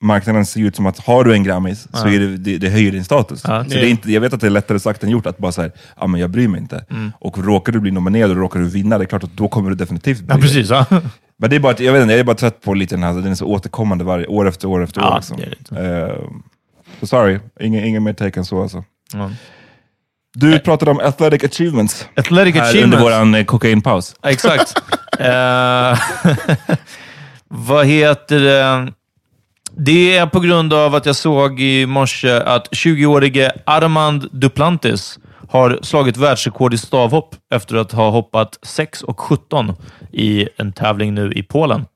Speaker 2: marknaden ser ut som att har du en Grammis så är det, det, det höjer din status.
Speaker 3: Ja.
Speaker 2: Så det är inte, jag vet att det är lättare sagt än gjort att bara säga, ja men jag bryr mig inte.
Speaker 3: Mm.
Speaker 2: Och råkar du bli nominerad och råkar du vinna, det är klart att då kommer du definitivt bry
Speaker 3: ja,
Speaker 2: dig.
Speaker 3: precis. Ja.
Speaker 2: Men det är bara att, jag vet inte, jag är bara trött på lite den här, den är så återkommande varje år efter år efter
Speaker 3: Ja,
Speaker 2: år. Liksom.
Speaker 3: det är det inte.
Speaker 2: Ehm, så sorry, ingen, ingen mer take än så alltså.
Speaker 3: Ja.
Speaker 2: Du pratade om athletic achievements
Speaker 3: Athletic
Speaker 2: här
Speaker 3: achievements.
Speaker 2: under våran eh, kokainpaus.
Speaker 3: Ja, Exakt. Eh, vad heter det? Det är på grund av att jag såg i morse att 20-årige Armand Duplantis har slagit världsrekord i stavhopp efter att ha hoppat 6 och 17 i en tävling nu i Polen.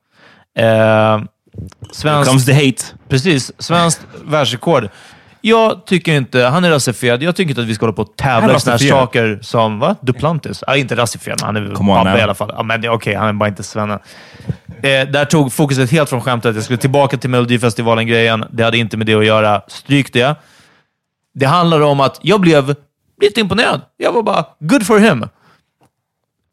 Speaker 3: Eh, svensk,
Speaker 2: the hate.
Speaker 3: precis, svenskt världsrekord. Jag tycker inte... Han är rasifierad. Jag tycker inte att vi ska hålla på och
Speaker 2: Han
Speaker 3: tävla
Speaker 2: är
Speaker 3: i sådana här
Speaker 2: rasifierad.
Speaker 3: saker som... Va? Duplantis? Ja, inte rasifierad, men han är
Speaker 2: Come on
Speaker 3: pappa
Speaker 2: now.
Speaker 3: i alla fall. Ja, men det- Okej, han är bara inte svenne. Eh, där tog fokuset helt från skämtet. Jag skulle tillbaka till Melodifestivalen-grejen. Det hade inte med det att göra. Stryk det. Det handlar om att jag blev lite imponerad. Jag var bara, good for him.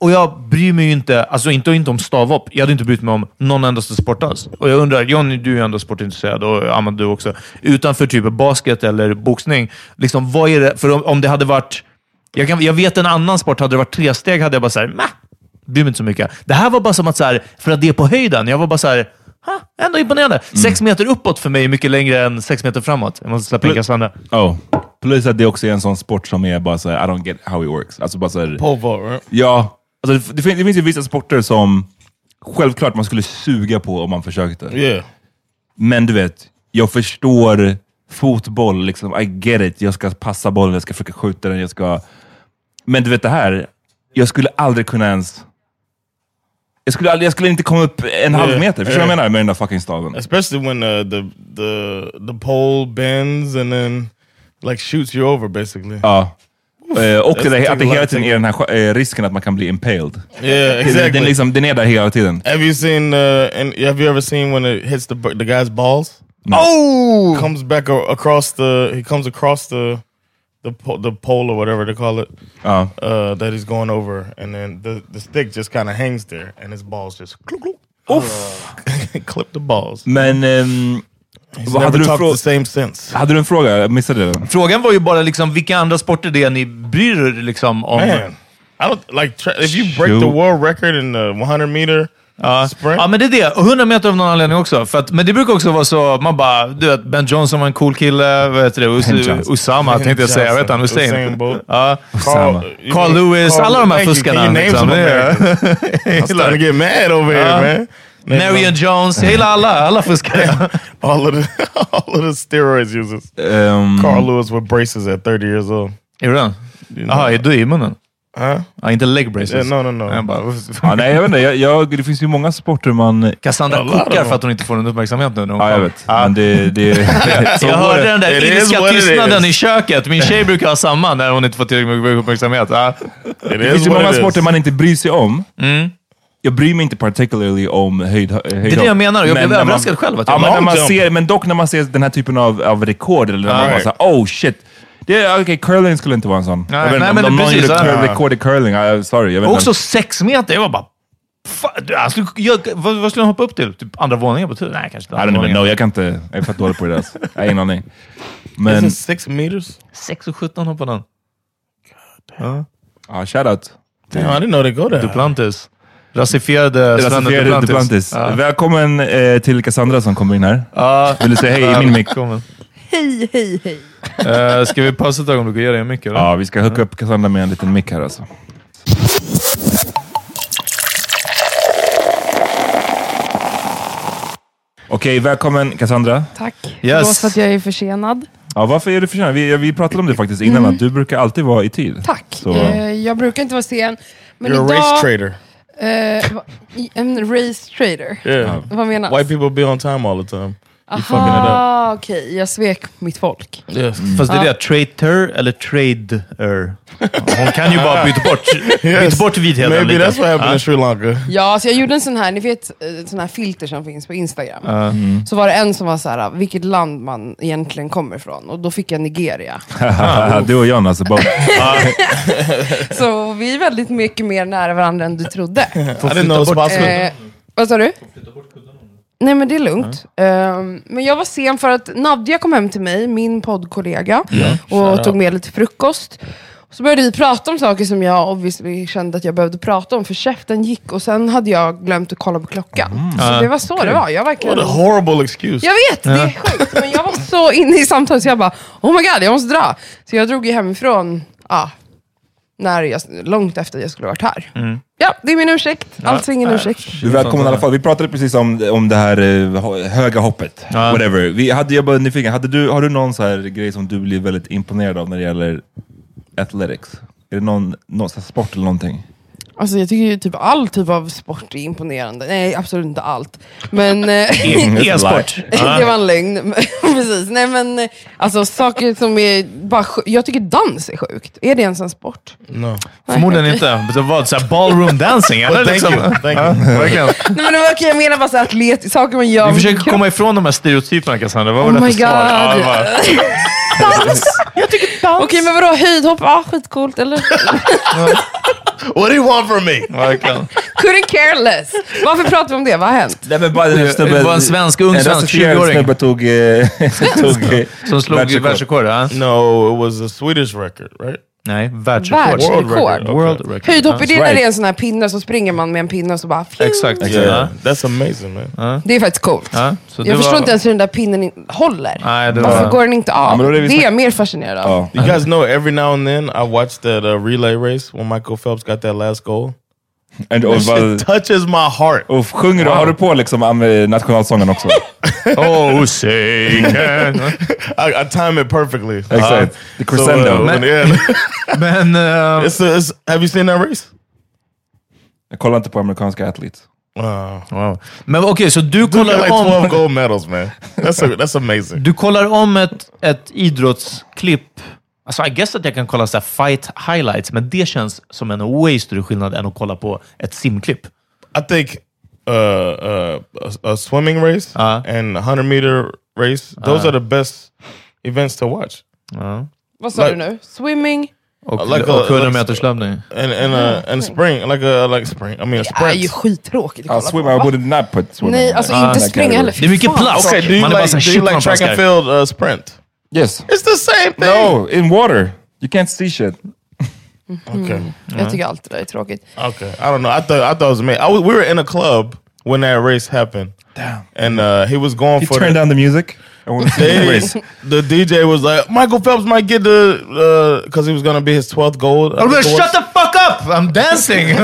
Speaker 3: Och jag bryr mig ju inte, alltså inte, inte om stavhopp. Jag hade inte brytt mig om någon endaste sport alls. Och jag undrar, Johnny, du är ju ändå sportintresserad och Ahmad, du också. Utanför typ basket eller boxning, liksom, vad är det? För om, om det hade varit... Jag, kan, jag vet en annan sport, hade det varit tre steg hade jag bara såhär, meh, bryr mig inte så mycket. Det här var bara som att, så här, för att det är på höjden, jag var bara såhär, ha, ändå imponerande. Sex meter uppåt för mig är mycket längre än sex meter framåt. Jag måste släppa in Cassandra.
Speaker 2: Oh. Plus att det också är en sån sport som är bara såhär, I don't get how it works. Alltså bara såhär,
Speaker 4: Pole vault, right?
Speaker 2: ja. Alltså, det, fin- det finns, det finns ju vissa sporter som självklart man skulle suga på om man försökte.
Speaker 4: Yeah.
Speaker 2: Men du vet, jag förstår fotboll. Liksom, I get it. Jag ska passa bollen, jag ska försöka skjuta den. Jag ska... Men du vet det här, jag skulle aldrig kunna ens... Jag skulle, aldrig, jag skulle inte komma upp en halv
Speaker 4: Eh,
Speaker 2: meter. Förstår du vad jag menar med den där fucking staven?
Speaker 4: Especially when uh, the the the pole bends and then like shoots you over basically.
Speaker 2: Ja. Eh, Och
Speaker 4: that's
Speaker 2: det, att det
Speaker 4: taking a
Speaker 2: hela
Speaker 4: lot,
Speaker 2: tiden är den här sk- eh, risken att man kan bli impaled.
Speaker 4: yeah, exactly.
Speaker 2: Den, liksom, den är där hela tiden.
Speaker 4: Have you seen? Uh, and have you ever seen when it hits the b- the guy's balls? Oh, comes back a- across the. He comes across the the po the pole or whatever they call it
Speaker 2: Ja.
Speaker 4: uh, that he's going over, and then the the stick just kind of hangs there, and his balls just clunk, clunk. clip the balls.
Speaker 2: Men... ehm,
Speaker 4: He's
Speaker 2: vad
Speaker 4: never
Speaker 2: hade, du
Speaker 4: talked
Speaker 2: frå-
Speaker 4: the same since.
Speaker 2: hade du en fråga? Jag missade den.
Speaker 3: Frågan var ju bara liksom, vilka andra sporter det är ni bryr er liksom, om.
Speaker 4: Oh, Man, I don't like tra- if you break the
Speaker 2: Shoot.
Speaker 4: world record in the 100 meter sprint.
Speaker 3: Ja, men det är det. Och 100 meter av någon anledning också. För att, men det brukar också vara så, man bara, du vet, Ben Johnson var en cool kille. Vad heter det? Us-
Speaker 2: Ben Johnson.
Speaker 3: Usama tänkte jag säga. Vad heter han?
Speaker 4: Usain
Speaker 3: Hussein?
Speaker 4: Bolt.
Speaker 3: Ja.
Speaker 2: Samma.
Speaker 4: you
Speaker 3: Carl
Speaker 4: mean-
Speaker 3: Lewis,
Speaker 4: Carl-
Speaker 3: alla de här
Speaker 4: thank you.
Speaker 3: fuskarna.
Speaker 4: Can you name
Speaker 3: liksom.
Speaker 4: some
Speaker 3: Det är-
Speaker 4: Americans? I'm starting to get mad over
Speaker 3: Uh,
Speaker 4: here, man. Name
Speaker 3: Marion
Speaker 4: them.
Speaker 3: Jones. Jag gillar alla. Alla fuskare.
Speaker 4: all of the all of the steroids users.
Speaker 2: Ehm,
Speaker 4: Carl Lewis with braces at 30 years old.
Speaker 3: Är du den?
Speaker 4: Oh,
Speaker 3: Jaha, är du i munnen? Ja, inte leg braces?
Speaker 4: Yeah, no, no, no.
Speaker 3: Jag bara,
Speaker 2: ja, nej, jag vet inte. Jag, jag, det finns ju många sporter man
Speaker 3: Cassandra
Speaker 4: Alla
Speaker 3: kokar
Speaker 4: de-
Speaker 3: för att hon inte får någon uppmärksamhet nu. när hon
Speaker 2: Ja, jag
Speaker 3: kom.
Speaker 2: vet. Men det, det, så
Speaker 3: jag
Speaker 2: var
Speaker 3: hörde
Speaker 2: det.
Speaker 3: den där
Speaker 4: It is
Speaker 3: ilska
Speaker 4: what it
Speaker 3: tystnaden
Speaker 4: is.
Speaker 3: i köket. Min tjej brukar ha samma när hon inte får tillräckligt mycket uppmärksamhet. Ja.
Speaker 4: It
Speaker 2: Det finns
Speaker 4: is
Speaker 2: ju
Speaker 4: what
Speaker 2: många
Speaker 4: it
Speaker 2: sporter
Speaker 4: is.
Speaker 2: man inte bryr sig om. Jag bryr mig inte particularly om höjd, höjdhopp.
Speaker 3: Mm. Det är det jag menar. Jag
Speaker 2: Men
Speaker 3: blev
Speaker 2: när man-
Speaker 3: överraskad själv att
Speaker 2: Ja,
Speaker 3: jag
Speaker 2: men, när
Speaker 4: Long
Speaker 2: man
Speaker 4: jump.
Speaker 2: ser, men dock när man ser den här typen av, av rekord, eller när man bara
Speaker 4: Right.
Speaker 2: såhär, oh shit. Det, är- okej, curling skulle inte vara en sån.
Speaker 3: Nej,
Speaker 2: jag vet inte,
Speaker 3: nej,
Speaker 2: om
Speaker 3: men
Speaker 2: om
Speaker 3: det-
Speaker 2: någon
Speaker 3: precis,
Speaker 2: gjorde
Speaker 3: ja.
Speaker 2: cur- rekord i curling, uh, sorry. Jag vet
Speaker 3: Och
Speaker 2: inte.
Speaker 3: också sex meter. Jag var bara... Fan, du, han skulle, jag, vad, vad skulle han hoppa upp till? Typ andra våningen på tur? Nej, kanske inte.
Speaker 2: I don't
Speaker 3: andra
Speaker 2: even know,
Speaker 3: våningen.
Speaker 2: jag kan inte. Jag är fett dålig på det där. alltså. Jag har ingen aning. Men,
Speaker 4: Is it six meters?
Speaker 3: Sex och 17 hoppade han.
Speaker 2: ja, shoutout.
Speaker 4: Damn, I didn't know they go there.
Speaker 3: Duplantis. Rasifierade Sven
Speaker 2: Rasifierade
Speaker 3: Duplantis.
Speaker 2: Duplantis.
Speaker 3: Ja.
Speaker 2: Välkommen eh, till Cassandra som kommer in här. Vill du säga hej i min mick?
Speaker 3: Välkommen.
Speaker 6: Hej, hej, hej.
Speaker 3: Eh, ska vi passa ett ögonblick och ge dig en mick? eller?
Speaker 2: Ja, vi ska hooka upp Cassandra med en liten mick här alltså. Okej, välkommen Cassandra.
Speaker 6: Tack.
Speaker 3: Yes.
Speaker 6: Förlåt för att jag är försenad.
Speaker 2: Ja, varför är du försenad? Vi, vi pratade om det faktiskt innan, att du brukar alltid vara i tid.
Speaker 6: Mm. Tack.
Speaker 2: Så-
Speaker 6: Eh, jag brukar inte vara sen. Men
Speaker 4: You're a
Speaker 6: idag...
Speaker 4: race trader.
Speaker 6: Eh, va- i- en race trader?
Speaker 4: Yeah.
Speaker 6: Vad menas?
Speaker 4: Uh, White people be on time all the time. You fucking it up.
Speaker 6: Aha, okej. Jag svek mitt folk.
Speaker 4: Yes.
Speaker 3: Fast det är det, traitor eller trader. Hon kan ju bara byta bort, byta bort vitheten
Speaker 4: Maybe that's what
Speaker 3: lite.
Speaker 4: happened in Sri Lanka.
Speaker 6: Ja, så jag gjorde en sån här, ni vet eh, sån här filter som finns på Instagram.
Speaker 4: Mm.
Speaker 6: Så var det en som var så här, ah, vilket land man egentligen kommer ifrån. Och då fick jag Nigeria.
Speaker 2: du och John alltså. Bara,
Speaker 6: så vi är väldigt mycket mer nära varandra än du trodde.
Speaker 4: I didn't know it's possible.
Speaker 6: Eh, vad sa du? Nej men det är lugnt. Ehm, men jag var sen för att Nadja kom hem till mig, min poddkollega, och tog med lite frukost. Så började vi prata om saker som jag obviously kände att jag behövde prata om, för käften gick och sen hade jag glömt att kolla på klockan. Så det var så det var. Jag verkligen...
Speaker 4: What a horrible excuse.
Speaker 6: Jag vet, det är sjukt. Men jag var så inne i samtalet så jag bara, oh my god, jag måste dra. Så jag drog ju hemifrån, ah, när jag, långt efter jag skulle ha varit här. Mm. Ja, det är min ursäkt. Alltså ingen ursäkt.
Speaker 2: du är välkommen i alla fall. Vi pratade precis om, om det här eh, ho- höga hoppet. Whatever. Vi hade, jag bara nyfiken, hade du, har du någon så här grej som du blir väldigt imponerad av när det gäller athletics? Är det någon, någon så här sport eller någonting?
Speaker 6: Alltså jag tycker ju typ all typ av sport är imponerande. Nej, absolut inte allt. Men eh,
Speaker 3: E-sport.
Speaker 6: det var en lögn. Precis. Nej men, eh, alltså saker som är bara sj- Jag tycker dans är sjukt. Är det ens en sport?
Speaker 4: No.
Speaker 3: Förmodligen inte. Men det var så här ballroom dancing, eller?
Speaker 4: But thank
Speaker 3: Liksom.
Speaker 4: you. Thank you.
Speaker 3: Ja, verkligen.
Speaker 6: Nej men det var okej, jag menar bara så här atlet, saker man gör.
Speaker 3: Vi
Speaker 6: med
Speaker 3: försöker
Speaker 6: kroppen.
Speaker 3: komma ifrån de här stereotyperna, Cassandra. Vad var
Speaker 6: Oh
Speaker 3: det
Speaker 6: my
Speaker 3: för svar? Ja, det
Speaker 6: God.
Speaker 3: var-
Speaker 6: dans! Jag tycker dans. Okej men vadå, höjdhopp? Ja, skitcoolt eller?
Speaker 4: What do you want from me?
Speaker 3: Verkligen.
Speaker 6: Couldn't care less. Varför pratar vi om det? Vad har hänt?
Speaker 2: Nej, men bara den här snubben-
Speaker 3: Det var en svensk, ung
Speaker 2: en
Speaker 3: svensk,
Speaker 2: rasifierad
Speaker 3: 20-åring.
Speaker 2: snubbe tog... eh, tog eh,
Speaker 3: Som slog
Speaker 2: världsrekord.
Speaker 3: världsrekord, ja?
Speaker 4: Mm. No, it was a Swedish record, right?
Speaker 3: Nej, världsrekord.
Speaker 6: Världsrekord.
Speaker 3: World record.
Speaker 6: Höjdhopp, är det när
Speaker 2: right.
Speaker 6: det är en sån här pinne så springer man med en pinne och så bara...
Speaker 3: Ja,
Speaker 6: fju.
Speaker 3: Exakt.
Speaker 4: Yeah,
Speaker 3: Ja.
Speaker 4: that's amazing, man.
Speaker 6: Det är faktiskt coolt.
Speaker 3: Ja, så det
Speaker 6: Jag förstår
Speaker 3: var-
Speaker 6: inte ens hur den där pinnen in- håller.
Speaker 3: Nej, det
Speaker 6: Varför
Speaker 3: var-
Speaker 6: går den inte av?
Speaker 2: men då är
Speaker 6: det,
Speaker 2: det vi
Speaker 6: är jag mer fascinerad av.
Speaker 2: Ja.
Speaker 4: You guys know every now and then I watch that uh, relay race when Michael Phelps got that last goal.
Speaker 2: And- och
Speaker 4: That
Speaker 2: bara-
Speaker 4: shit touches my heart.
Speaker 2: Och sjunger du, har du på liksom am- nationalsången också?
Speaker 3: Oh, say can.
Speaker 4: I, I time it perfectly.
Speaker 2: Exakt. eh,
Speaker 4: so,
Speaker 2: The
Speaker 4: uh,
Speaker 2: crescendo.
Speaker 4: when- yeah.
Speaker 3: Men... eh,
Speaker 4: it's a, it's, have you seen that race?
Speaker 2: Jag kollar inte på amerikanska athletes.
Speaker 4: Wow.
Speaker 3: wow. Oh, Men okej, så du
Speaker 4: Dude got
Speaker 3: kollar
Speaker 4: like
Speaker 3: om...
Speaker 4: 12 gold medals, man. That's a, that's amazing.
Speaker 3: Du kollar om ett, ett idrottsklipp. Alltså, I guess att jag kan kolla så här fight highlights, men det känns som en way större skillnad än att kolla på ett simklipp.
Speaker 4: I think uh, uh, a, a swimming race
Speaker 3: Uh-huh.
Speaker 4: and a 100 meter race, those are the best events to watch.
Speaker 6: Vad sa
Speaker 4: Nej.
Speaker 6: du nu? Swimming?
Speaker 3: Och,
Speaker 4: Like a-
Speaker 3: och 100 meters löpning.
Speaker 4: And and uh, and spring like a like spring. I mean a
Speaker 6: Det är ju
Speaker 4: sprint.
Speaker 6: skittråkigt att kolla
Speaker 2: I'll swim,
Speaker 6: på.
Speaker 2: I
Speaker 6: Va?
Speaker 2: would not put swimming. Ah,
Speaker 6: Nej, alltså
Speaker 2: in
Speaker 6: inte
Speaker 2: that
Speaker 6: springa
Speaker 2: category.
Speaker 6: heller. Fy
Speaker 3: Det är mycket
Speaker 6: fan.
Speaker 3: plats.
Speaker 4: Okay, do you
Speaker 3: Man är bara
Speaker 4: like,
Speaker 3: så här,
Speaker 4: do
Speaker 3: shit,
Speaker 4: you
Speaker 3: man
Speaker 4: like track
Speaker 3: fuskar.
Speaker 4: and field uh, sprint?
Speaker 2: Yes.
Speaker 4: It's the same thing.
Speaker 2: No, in water. You can't see shit.
Speaker 4: Okay.
Speaker 6: Jag
Speaker 2: Mm.
Speaker 6: tycker allt det där är tråkigt.
Speaker 4: Okay. I don't know. I thought I thought it was me. I was, we were in a club when that race happened. Damn. And uh, he was going
Speaker 2: You
Speaker 4: for
Speaker 2: turn
Speaker 4: the,
Speaker 2: down the music. I want to see the
Speaker 4: They-
Speaker 2: race.
Speaker 4: the DJ was like Michael Phelps might get the because he was gonna be his twelfth gold. I
Speaker 3: I'm gonna
Speaker 4: think it
Speaker 3: shut
Speaker 4: was.
Speaker 3: the fuck up! I'm dancing!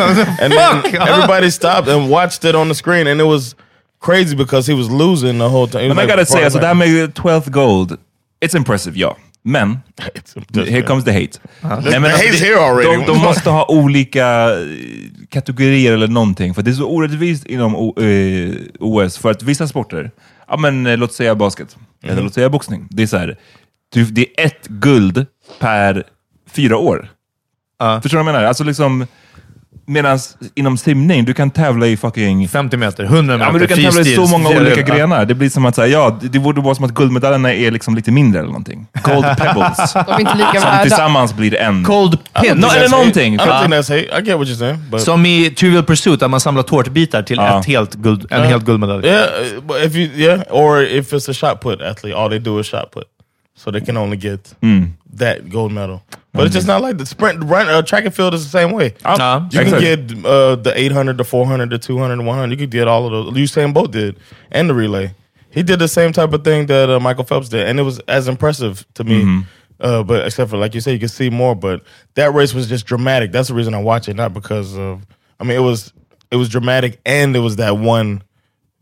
Speaker 4: And
Speaker 3: fuck!
Speaker 4: then everybody stopped and watched it on the screen, and it was crazy because he was losing the whole time. He was
Speaker 2: And I
Speaker 4: like,
Speaker 2: gotta say,
Speaker 4: "Fuck,
Speaker 2: alltså det här
Speaker 4: like,
Speaker 2: med 12th gold, it's impressive, ja. Men, here comes the hate. Nej, alltså,
Speaker 4: The hate's
Speaker 2: det-
Speaker 4: here already.
Speaker 2: De, de måste ha olika eh, kategorier eller någonting, för det är så orättvist inom O- eh, OS. För att vissa sporter, ja men eh, låt säga basket,
Speaker 4: Mm.
Speaker 2: eller låt säga boxning. Det är så här, du, det är ett guld per fyra år. Förstår du vad jag menar? Alltså liksom, medan inom simning, du kan tävla i fucking
Speaker 3: 50 meter, 100 meter,
Speaker 2: Ja, men du kan tävla i så
Speaker 3: freestyle,
Speaker 2: många
Speaker 3: freestyle.
Speaker 2: olika grenar. Det blir som att säga, ja, det- det borde vara som att guldmedaljerna är liksom lite mindre eller någonting. Gold pebbles.
Speaker 6: De är inte lika
Speaker 2: som
Speaker 6: värda.
Speaker 2: tillsammans blir en.
Speaker 3: Cold pin.
Speaker 2: No, eller
Speaker 4: that's hate.
Speaker 2: någonting.
Speaker 4: I don't
Speaker 2: För,
Speaker 4: think that's hate. I get what you're saying, but
Speaker 3: Som i Trivial Pursuit, där man samlar tårtbitar till
Speaker 2: Ja.
Speaker 3: ett helt guld, en helt guldmedalj.
Speaker 4: yeah, uh, but if you yeah, or if it's a shot put athlete, all they do is shot put, so they can only get that gold medal. But it's just not like the sprint, run, uh, track and field is the same way.
Speaker 3: Ja.
Speaker 4: You
Speaker 2: Exactly.
Speaker 4: can get uh, the 800, the 400, the 200, the 100. You could get all of those. Usain Bolt did, and the relay. He did the same type of thing that uh, Michael Phelps did, and it was as impressive to me.
Speaker 2: Mm-hmm.
Speaker 4: Uh, but except for like you said, you could see more. But that race was just dramatic. That's the reason I watch it, not because of. I mean, it was it was dramatic, and it was that one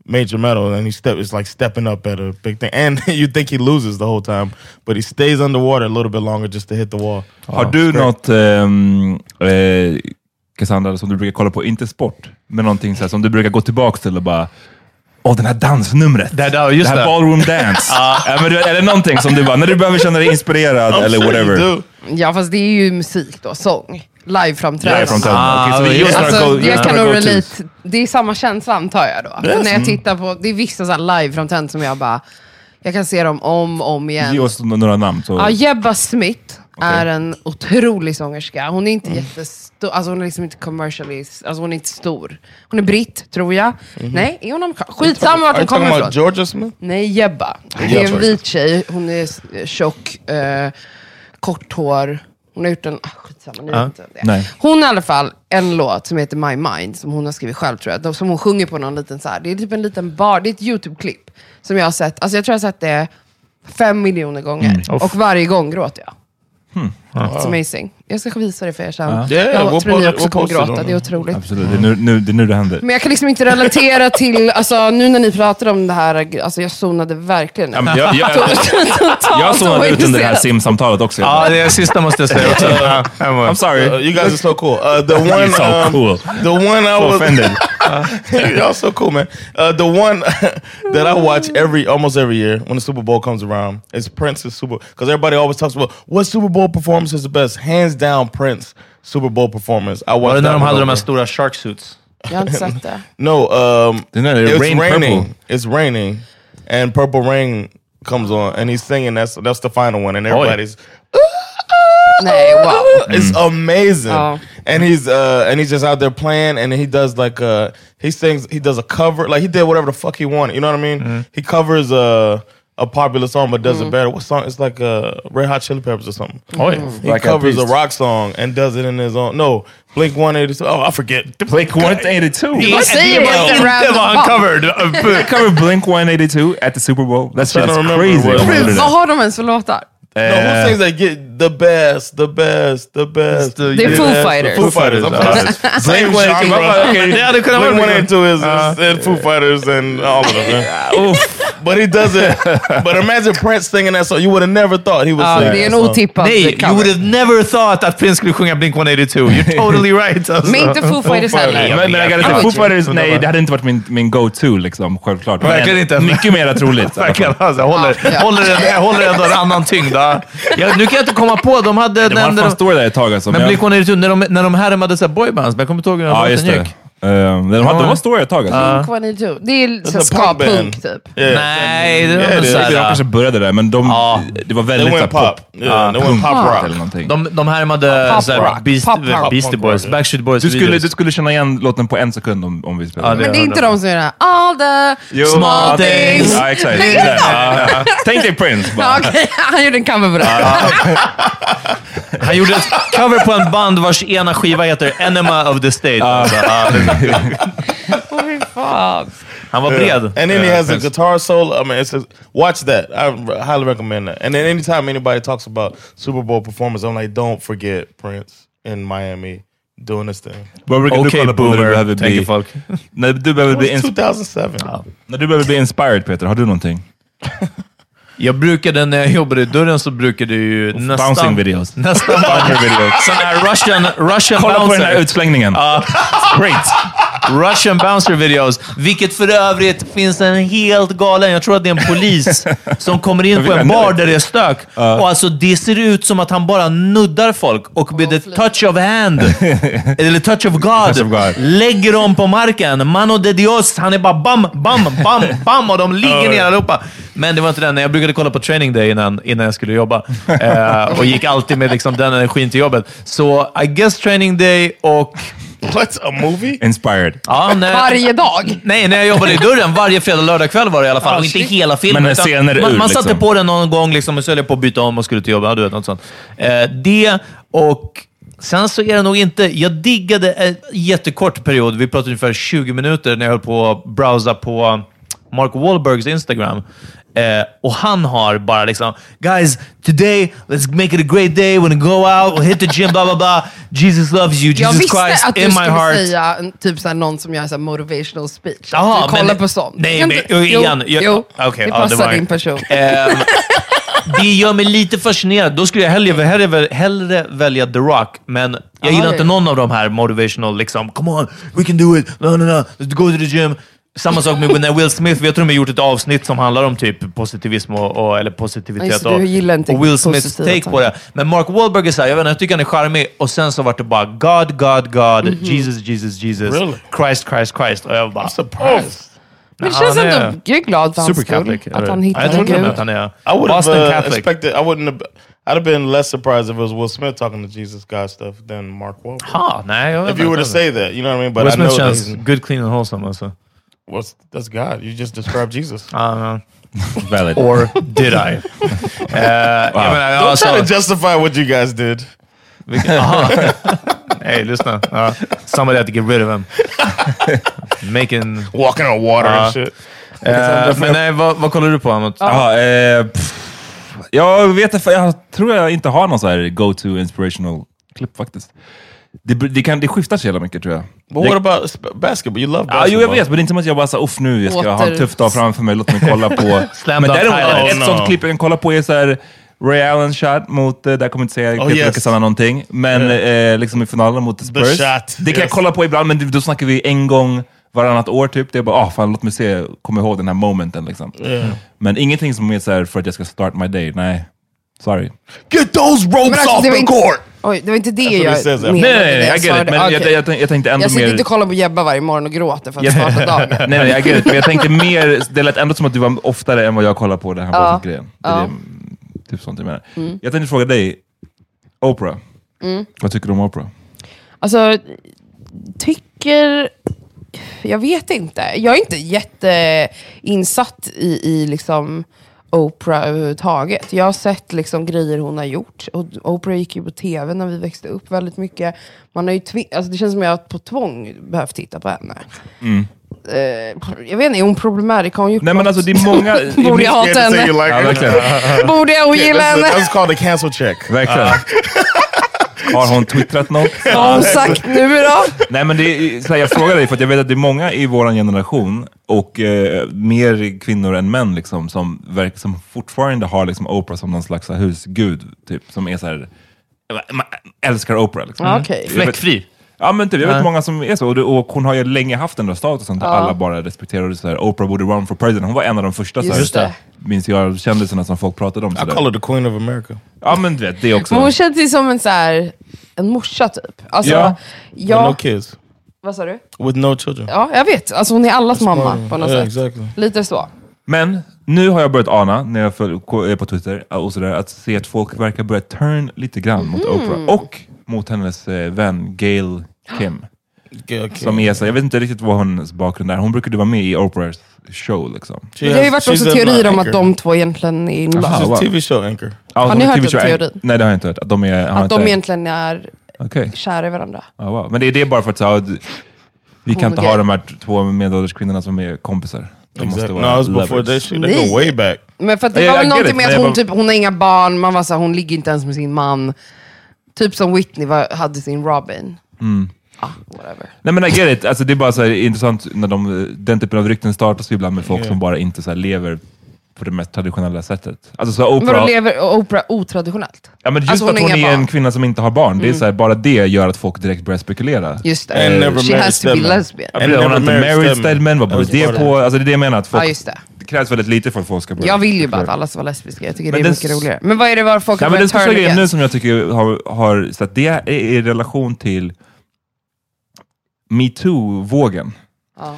Speaker 4: major medal, and he step is like stepping up at a big thing. And you think he loses the whole time, but he stays underwater a little bit longer just to hit the wall.
Speaker 2: Har du något, ehm, eh, Cassandra, som du brukar kolla på, inte sport, men någonting så här, som du brukar gå tillbaka till och bara Åh, den här dansnumret!
Speaker 3: Det här- ja, just
Speaker 2: det här
Speaker 3: det.
Speaker 2: ballroom dance! ja, men du, är det någonting som du bara, när du behöver känna dig inspirerad eller
Speaker 4: Sure you
Speaker 2: whatever?
Speaker 4: do.
Speaker 6: Ja, fast det är ju musik då. Sång. Liveframträdande.
Speaker 2: Live from Tell.
Speaker 3: Ah,
Speaker 2: Okej, så vi just
Speaker 6: Alltså,
Speaker 2: några go- just
Speaker 6: jag kan
Speaker 2: några
Speaker 6: nog
Speaker 2: go-tos.
Speaker 6: relate. Det är samma känsla antar jag då. När
Speaker 2: Mm.
Speaker 6: jag tittar på, det är vissa så här liveframträdanden som jag bara, jag kan se dem om och om igen.
Speaker 2: Ge oss n- några namn. Så.
Speaker 6: Ja, Jebba Smith är en otrolig sångerska. Hon är inte jättestor, alltså hon är liksom inte commercially, alltså hon är inte stor. Hon är britt, tror jag. Nej, är hon amerikan? Skitsamma vart
Speaker 4: Are you
Speaker 6: hon
Speaker 4: talking
Speaker 6: kommer
Speaker 4: about
Speaker 6: ifrån.
Speaker 4: Georgia Smith?
Speaker 6: Nej, Jebba. Det är en vit tjej. Hon är s- tjock, eh, kort hår. Hon har gjort en... Ah, skitsamma, nu vet inte det.
Speaker 2: nej.
Speaker 6: Hon har i alla fall en låt som heter My Mind, som hon har skrivit själv tror jag. De- Som hon sjunger på någon liten så här. Det är typ en liten bar. Det är ett YouTube-klipp som jag har sett. Alltså jag tror jag har sett det fem miljoner gånger. Och varje gång gråter jag. Hmm. It's amazing. Jag ska visa det för er sen.
Speaker 4: Yeah,
Speaker 6: jag
Speaker 4: we'll
Speaker 6: tror ni
Speaker 4: post-
Speaker 6: också
Speaker 4: we'll
Speaker 6: kommer
Speaker 4: post it
Speaker 6: gråta.
Speaker 4: on-
Speaker 6: Det är otroligt.
Speaker 2: Absolut, det är nu, nu, det, är nu det händer.
Speaker 6: Men jag kan liksom inte relatera till, alltså nu när ni pratade om det här, alltså jag zonade verkligen ut.
Speaker 2: Ja, men jag, jag, jag zonade ut under det här simsamtalet också. Jag bara,
Speaker 3: Ja, det är sista måste jag säga också. Ja, jag var-
Speaker 2: I'm sorry.
Speaker 4: Uh, you guys are so cool. Uh, the one,
Speaker 2: You're so
Speaker 4: um,
Speaker 2: cool.
Speaker 4: the one I
Speaker 2: So
Speaker 4: was
Speaker 2: offended.
Speaker 4: Y'all so cool, man. Uh, the one that I watch every almost every year when the Super Bowl comes around is Prince's Super because everybody always talks about what Super Bowl performance is the best. Hands down, Prince Super Bowl performance. I
Speaker 3: Var
Speaker 4: watched
Speaker 3: det när
Speaker 4: that
Speaker 3: de
Speaker 4: one
Speaker 3: hade de här
Speaker 4: over.
Speaker 3: stora shark suits?
Speaker 6: Jag har inte sett det.
Speaker 4: No, um,
Speaker 2: Didn't it
Speaker 4: it's
Speaker 2: rain purple?
Speaker 4: raining. It's raining, and Purple Rain comes on, and he's singing. That's that's the final one, and everybody's.
Speaker 6: Nej, wow.
Speaker 4: It's
Speaker 2: Mm.
Speaker 4: amazing.
Speaker 6: Oh.
Speaker 4: And he's uh and he's just out there playing and he does like uh he sings he does a cover like he did whatever the fuck he wanted, you know what I mean?
Speaker 2: Mm-hmm.
Speaker 4: He covers uh a popular song but does it better. What song? It's like uh Red Hot Chili Peppers or something.
Speaker 3: Oh, ja.
Speaker 4: He covers a rock song and does it in his own no, Blink 182. Oh, I forget.
Speaker 2: Blink 182.
Speaker 6: Vad säger
Speaker 3: Det var
Speaker 6: jag?
Speaker 3: inte vad han covered.
Speaker 2: I cover Blink 182 at the Super Bowl. That shit
Speaker 4: trying to
Speaker 2: is
Speaker 4: remember
Speaker 2: crazy.
Speaker 4: what-
Speaker 2: Jag gjorde
Speaker 6: Vad
Speaker 2: det.
Speaker 6: har de ens för låtar?
Speaker 4: No, who sings that get the best, the best, the best.
Speaker 3: the-
Speaker 6: Det är
Speaker 3: Yes.
Speaker 6: Foo
Speaker 4: best, the
Speaker 6: Fighters.
Speaker 4: Foo Fighters. I'm sorry.
Speaker 2: Same
Speaker 4: Blink-182.
Speaker 2: genre.
Speaker 4: Okay.
Speaker 3: Det hade kunnat
Speaker 4: Blink
Speaker 3: vara
Speaker 4: One
Speaker 3: det.
Speaker 4: Eight Two is, is and Foo Fighters and all of them. man. but he does it. But imagine Prince singing that song. You would have never thought he would
Speaker 6: Ja,
Speaker 4: sing
Speaker 6: det är
Speaker 4: that
Speaker 6: en
Speaker 2: alltså.
Speaker 4: song.
Speaker 6: otippad
Speaker 3: Nej, you would
Speaker 6: cover.
Speaker 3: have never thought att Prince skulle sjunga Blink-182. You're totally right. Alltså.
Speaker 6: Men inte Foo Fighters heller.
Speaker 2: Men, men jag kan
Speaker 6: Ja,
Speaker 2: säga, Foo
Speaker 6: men-
Speaker 2: Fighters, nej, det hade inte varit min, min go-to, liksom, självklart. Men
Speaker 3: Verkligen inte.
Speaker 2: Mycket mer troligt. i alla
Speaker 3: Verkligen.
Speaker 2: fall.
Speaker 3: Alltså, jag håller,
Speaker 6: Ja.
Speaker 3: håller, en- jag håller ändå en annan tyngd. ja. Jag, nu kan jag inte komma på. De hade...
Speaker 2: De har fan stått där ett tag alltså.
Speaker 3: men
Speaker 2: jag-
Speaker 3: Blink-182, när de, när de härmade så här boybands, men jag kommer inte ihåg hur den
Speaker 2: Ja,
Speaker 3: låten
Speaker 2: just det.
Speaker 3: gick.
Speaker 2: Ehm, de, har, de har stora ett tag alltså.
Speaker 6: Blink-182. Det är så
Speaker 4: It's a punk band.
Speaker 6: ska-punk typ.
Speaker 4: Yeah.
Speaker 3: Nej, det var
Speaker 2: Jag
Speaker 3: väl
Speaker 2: tycker
Speaker 3: så
Speaker 2: de
Speaker 3: här,
Speaker 2: kanske började där, men de,
Speaker 3: Ja.
Speaker 2: det var väldigt
Speaker 4: They
Speaker 2: så här
Speaker 4: went
Speaker 2: pop.
Speaker 4: pop. Uh-huh. Yeah, they went pop rock.
Speaker 2: eller någonting.
Speaker 3: de, de härmade så här,
Speaker 6: rock.
Speaker 3: Beast,
Speaker 6: Pop rock.
Speaker 3: Beastie Boys, Backstreet Boys.
Speaker 2: Du skulle,
Speaker 3: videos.
Speaker 2: du skulle känna igen låten på en sekund om, om vi spelade.
Speaker 3: Ja,
Speaker 6: Men det är inte de som gör det här. All the
Speaker 2: Jo.
Speaker 6: small things.
Speaker 2: Ja, exakt. exakt. Ja, ja. Tänk dig Prince bara.
Speaker 6: Ja, okej. Han gjorde en cover på det.
Speaker 3: Han gjorde ett cover på en band vars ena skiva heter Enema of the State. Alltså, ja.
Speaker 6: Åh, fy fan.
Speaker 3: han var bred.
Speaker 4: And then he has a guitar solo. I mean, it's just, watch that. I r- highly recommend that. And then anytime anybody talks about Super Bowl performance, I'm like, don't forget Prince in Miami doing this thing.
Speaker 2: Vad brukar du
Speaker 3: Okej
Speaker 2: kolla på när du behöver
Speaker 3: boomer, tänker
Speaker 2: bli...
Speaker 3: folk.
Speaker 2: När du behöver bli,
Speaker 4: It's
Speaker 2: ins-
Speaker 4: 2007.
Speaker 2: när du behöver bli inspired Peter, har du någonting?
Speaker 3: Jag brukade, när jag jobbade i dörren så brukade jag ju nästan...
Speaker 2: Bouncing videos.
Speaker 3: Nästan bara... Sån här Russian, Russian
Speaker 2: Kolla på
Speaker 3: bouncer.
Speaker 2: den här utslängningen. Great!
Speaker 3: Russian bouncer videos. Vilket för övrigt finns en helt galen... Jag tror att det är en polis som kommer in på en bar där det är stök. Och alltså, det ser ut som att han bara nuddar folk och med ett touch of hand, eller touch of God,
Speaker 2: Touch of God.
Speaker 3: lägger dem på marken. Mano de Dios. Han är bara bam, bam, bam, bam och de ligger ner allihopa. Men det var inte den. Jag brukade kolla på training day innan, innan jag skulle jobba eh, och gick alltid med liksom, den energin till jobbet. Så I guess training day och...
Speaker 4: What's a movie?
Speaker 2: Inspired.
Speaker 3: Ja, nej.
Speaker 6: Varje dag.
Speaker 3: Nej, när jag jobbade i dörren varje fredag och lördag kväll var det i alla fall. och inte hela filmen.
Speaker 2: Men en
Speaker 3: utan
Speaker 2: scener
Speaker 3: man,
Speaker 2: ur,
Speaker 3: man satte
Speaker 2: liksom.
Speaker 3: på den någon gång liksom, och så höll jag på att byta om och skulle till jobbet. Ja, du vet, något sånt. Eh, det och... Sen så är det nog inte... Jag diggade en jättekort period, vi pratade ungefär 20 minuter, när jag höll på att browsa på Mark Wahlbergs Instagram. Eh, och han har bara liksom “Guys, today, let's make it a great day, we're gonna go out, we'll hit the gym, blah blah blah. Jesus loves you,
Speaker 6: Jag
Speaker 3: Jesus
Speaker 6: visste
Speaker 3: Christ
Speaker 6: att du
Speaker 3: in my
Speaker 6: skulle
Speaker 3: heart”.
Speaker 6: säga en- typ såhär, någon som gör såhär motivational speech.
Speaker 3: Jaha,
Speaker 6: du kollar
Speaker 3: men-
Speaker 6: på sånt.
Speaker 3: Nej,
Speaker 6: Kan
Speaker 3: men
Speaker 6: du- jo,
Speaker 3: igen. jag-
Speaker 6: jo,
Speaker 3: okej,
Speaker 6: det
Speaker 3: ja,
Speaker 6: passar
Speaker 3: var-
Speaker 6: din person.
Speaker 3: Ehm, det gör mig lite fascinerad. Då skulle jag hellre, hellre, hellre välja The Rock, men jag gillar
Speaker 6: ja,
Speaker 3: inte
Speaker 6: ja.
Speaker 3: någon av de här motivational, liksom “Come on, we can do it, no, no, no, let's go to the gym”. Samma sak med när Will Smith, jag tror de har gjort ett avsnitt som handlar om typ positivism och, och, eller
Speaker 6: Ja,
Speaker 3: positivitet
Speaker 6: just det, du gillar inte
Speaker 3: och, och Will Smiths
Speaker 6: positiva
Speaker 3: take på
Speaker 6: tankar.
Speaker 3: det. Men Mark Wahlberg är såhär, jag vet inte, jag tycker han är charmig och sen så vart det bara God, God, God,
Speaker 6: Mhm.
Speaker 3: Jesus, Jesus, Jesus,
Speaker 4: Really?
Speaker 3: Christ, Christ, Christ. Och jag bara,
Speaker 4: I'm surprised.
Speaker 6: Men det
Speaker 3: Ja,
Speaker 6: känns
Speaker 3: han är
Speaker 6: ändå... Jag är glad för hans
Speaker 3: Super
Speaker 6: skull.
Speaker 3: Catholic.
Speaker 6: Att
Speaker 3: eller?
Speaker 6: han
Speaker 3: jag
Speaker 6: hittade
Speaker 3: tror
Speaker 6: en
Speaker 3: inte
Speaker 6: gud.
Speaker 3: att han är
Speaker 4: I would have
Speaker 3: Boston
Speaker 4: uh,
Speaker 3: Catholic.
Speaker 4: expected. I wouldn't have. I'd have been less surprised if it was Will Smith talking to Jesus God stuff than Mark Wahlberg.
Speaker 3: ha, nej, jag vet
Speaker 4: If you
Speaker 3: inte.
Speaker 4: were to say that, you know what I mean. But
Speaker 3: Will
Speaker 4: I know
Speaker 3: Smith
Speaker 4: that
Speaker 3: känns
Speaker 4: he's-
Speaker 3: good, clean and wholesome alltså.
Speaker 4: what's that's God. You just described Jesus.
Speaker 3: I don't know.
Speaker 2: Valid.
Speaker 3: Or did I? Eh, jag menar,
Speaker 4: Don't try
Speaker 3: alltså,
Speaker 4: to justify what you guys did.
Speaker 3: vilken- aha. Hey, lyssna. Ja. somebody had to get rid of him. Making...
Speaker 4: Walking on water
Speaker 3: Uh,
Speaker 4: and shit.
Speaker 3: Eh, men nej, vad, vad kollar du på, Amat?
Speaker 2: Jaha, eh, pff, jag vet inte, för jag tror jag inte har någon så här go-to inspirational klipp faktiskt. Det, det, kan, det skiftar så jävla mycket tror jag.
Speaker 4: But
Speaker 2: Jag-
Speaker 4: what about sp- basketball? You love
Speaker 2: Ja,
Speaker 4: basketball.
Speaker 2: jo, jag vet, men det är inte som att jag bara så uff nu, jag ska ha en
Speaker 6: Åter-
Speaker 2: tuff dag framför mig, låt mig kolla på...
Speaker 3: Slam
Speaker 2: men
Speaker 3: dunk
Speaker 2: däremot,
Speaker 3: highlights.
Speaker 2: ett
Speaker 4: Oh, no.
Speaker 2: sånt klipp jag kan kolla på är så här Ray Allen shot mot, eh, där kommer jag inte säga, jag
Speaker 4: yes.
Speaker 2: brukar säga någonting, men eh, liksom i finalen mot Spurs.
Speaker 4: shot,
Speaker 2: Det kan jag
Speaker 4: yes.
Speaker 2: kolla på ibland, men det- då snackar vi en gång varannat år typ. Det är bara, ah fan låt mig se, kom ihåg den här momenten liksom. Men ingenting som är så här för att jag ska start my day, nej. Sorry.
Speaker 4: Get those ropes
Speaker 6: Men alltså,
Speaker 4: off
Speaker 6: det var
Speaker 4: the
Speaker 6: inte-
Speaker 4: court.
Speaker 6: Oj, det var inte det
Speaker 4: That's what he
Speaker 6: jag
Speaker 4: says.
Speaker 6: menade.
Speaker 2: Nej,
Speaker 6: när
Speaker 2: nej, nej,
Speaker 6: jag
Speaker 2: I get it.
Speaker 6: svarade.
Speaker 2: Men jag,
Speaker 6: Ah, Okej.
Speaker 2: jag, jag, jag tänkte ändå
Speaker 6: Jag sitter
Speaker 2: mer...
Speaker 6: inte och kollar på Jebba varje morgon och gråter för att starta dagen.
Speaker 2: nej, nej, jag get it. Men jag tänkte mer, det lät ändå som att du var oftare än vad jag kollar på den här
Speaker 6: Ja.
Speaker 2: ja. grejen. Det är
Speaker 6: Ja. Mm.
Speaker 2: det- typ sånt jag menar. Jag tänkte fråga dig, Oprah. Vad tycker du om Oprah?
Speaker 6: Alltså, tycker... Jag vet inte. Jag är inte jätteinsatt i, i liksom Oprah överhuvudtaget. Jag har sett liksom grejer hon har gjort. Och Oprah gick ju på tv när vi växte upp väldigt mycket. Man har ju tvi- alltså, det känns som att jag har på tvång behövt titta på henne. Eh, jag vet inte, är hon problematisk? Har hon gjort
Speaker 2: Mm. Nej men
Speaker 6: något?
Speaker 2: alltså det är många...
Speaker 6: Borde jag
Speaker 4: You
Speaker 6: hata
Speaker 4: had to say you
Speaker 6: henne?
Speaker 4: like
Speaker 2: Ja,
Speaker 4: it.
Speaker 2: verkligen.
Speaker 6: Borde jag
Speaker 4: Yeah,
Speaker 6: ogilla
Speaker 4: that's,
Speaker 6: henne?
Speaker 4: that's called a cancel check.
Speaker 2: verkligen. Har hon twittrat något?
Speaker 6: Vad har hon sagt nu då?
Speaker 2: Nej, men det är, så här, jag frågar dig för att jag vet att det är många i vår generation och eh, mer kvinnor än män liksom, som, verk, som fortfarande har liksom, Oprah som någon slags så här, husgud. Typ, som är så här, man älskar Oprah. Liksom.
Speaker 6: Ja, okej.
Speaker 2: Jag vet-
Speaker 3: Fläckfri.
Speaker 2: Ja, men typ, jag vet
Speaker 3: Ja.
Speaker 2: många som är så. Och, det, och hon har ju länge haft den där statusen där alla bara respekterar det. Så här, Oprah borde run for president. Hon var en av de första, så här,
Speaker 6: Just det.
Speaker 2: minns jag, kändisarna som folk pratade om. Så
Speaker 4: I
Speaker 2: där.
Speaker 4: call her the queen of America.
Speaker 2: Ja, men du vet, det också.
Speaker 6: Men hon känns ju som en, så här, en morsa typ. Alltså,
Speaker 2: Ja.
Speaker 4: With no
Speaker 6: ja,
Speaker 4: kids.
Speaker 6: vad sa du?
Speaker 4: With no children.
Speaker 6: Ja, jag vet. Alltså hon är allas mamma på något
Speaker 4: Yeah,
Speaker 6: sätt.
Speaker 4: exactly.
Speaker 6: Lite så.
Speaker 2: Men nu har jag börjat ana, när jag följer ko- är på Twitter och sådär, att se att folk verkar börja turn lite grann
Speaker 6: Mhm.
Speaker 2: mot Oprah och mot hennes eh, vän Gail Kim.
Speaker 4: Okay, okay.
Speaker 2: Som är så, jag vet inte riktigt vad hennes bakgrund är. Hon brukade vara med i Oprahs show. Liksom.
Speaker 4: She
Speaker 6: Det har ju
Speaker 4: has-
Speaker 6: varit
Speaker 4: she's
Speaker 6: också
Speaker 4: an
Speaker 6: teorier om
Speaker 4: anchor.
Speaker 6: att de två egentligen är in
Speaker 2: Aha.
Speaker 6: love.
Speaker 4: She's
Speaker 2: wow.
Speaker 4: a TV show anchor.
Speaker 2: Ah,
Speaker 6: Har
Speaker 2: hon
Speaker 6: ni
Speaker 2: är
Speaker 6: hört
Speaker 2: TV-show-
Speaker 6: den teorin?
Speaker 2: Nej, det har jag inte hört. Att de är... har
Speaker 6: Att de
Speaker 2: inte-
Speaker 6: egentligen är
Speaker 2: Okej.
Speaker 6: kära i varandra.
Speaker 2: Ah, wow. Men det är det bara för att så, här, d- vi kan inte
Speaker 6: Homogay.
Speaker 2: ha de här t- två medelålders kvinnorna som är kompisar. De måste
Speaker 4: Exactly.
Speaker 2: vara
Speaker 4: No, it was before
Speaker 2: lovers.
Speaker 4: that shit. They go
Speaker 6: Me.
Speaker 4: way back.
Speaker 6: Men för att det
Speaker 2: Ja,
Speaker 6: var
Speaker 2: jag
Speaker 6: väl
Speaker 2: get
Speaker 6: någonting
Speaker 2: it,
Speaker 6: med
Speaker 2: men
Speaker 6: att
Speaker 2: jag
Speaker 6: hon,
Speaker 2: bara-
Speaker 6: typ, hon har inga barn, man var så här, hon ligger inte ens med sin man. Typ som Whitney var, hade sin Robin.
Speaker 2: Mm.
Speaker 6: Ah, whatever.
Speaker 2: Nej men I get it. Alltså, det är bara så här, intressant när de, den typen av rykten startas ju ibland med folk som bara inte så här, lever på det mest traditionella sättet. Alltså så här,
Speaker 6: Men vadå,
Speaker 2: Oprah,
Speaker 6: lever Oprah otraditionellt?
Speaker 2: ja, men just
Speaker 6: alltså, hon
Speaker 2: att
Speaker 6: har
Speaker 2: hon är
Speaker 6: inga
Speaker 2: en
Speaker 6: barn.
Speaker 2: kvinna som inte har barn, det är så här, bara det gör att folk direkt börjar spekulera.
Speaker 6: Just det.
Speaker 4: And never
Speaker 6: She
Speaker 4: married
Speaker 6: has to be
Speaker 4: Stedman.
Speaker 6: lesbian.
Speaker 2: Ja, men Hon har inte married Stedman, vad beror
Speaker 4: That was part
Speaker 2: det
Speaker 4: of
Speaker 2: på? Alltså, det är det jag menar, att folk,
Speaker 6: Ja, just det.
Speaker 2: det krävs väldigt lite för att folk ska börja
Speaker 6: Jag vill ju bara att
Speaker 2: spekulera.
Speaker 6: alla ska vara lesbiska. Jag tycker det
Speaker 2: Men
Speaker 6: är
Speaker 2: det-
Speaker 6: mycket roligare. Men vad är det var folk
Speaker 2: Nej,
Speaker 6: har
Speaker 2: men den
Speaker 6: börjat
Speaker 2: största
Speaker 6: turn
Speaker 2: grejen nu
Speaker 6: against?
Speaker 2: som jag tycker har, har så att det är i relation till metoo-vågen.
Speaker 6: Ja.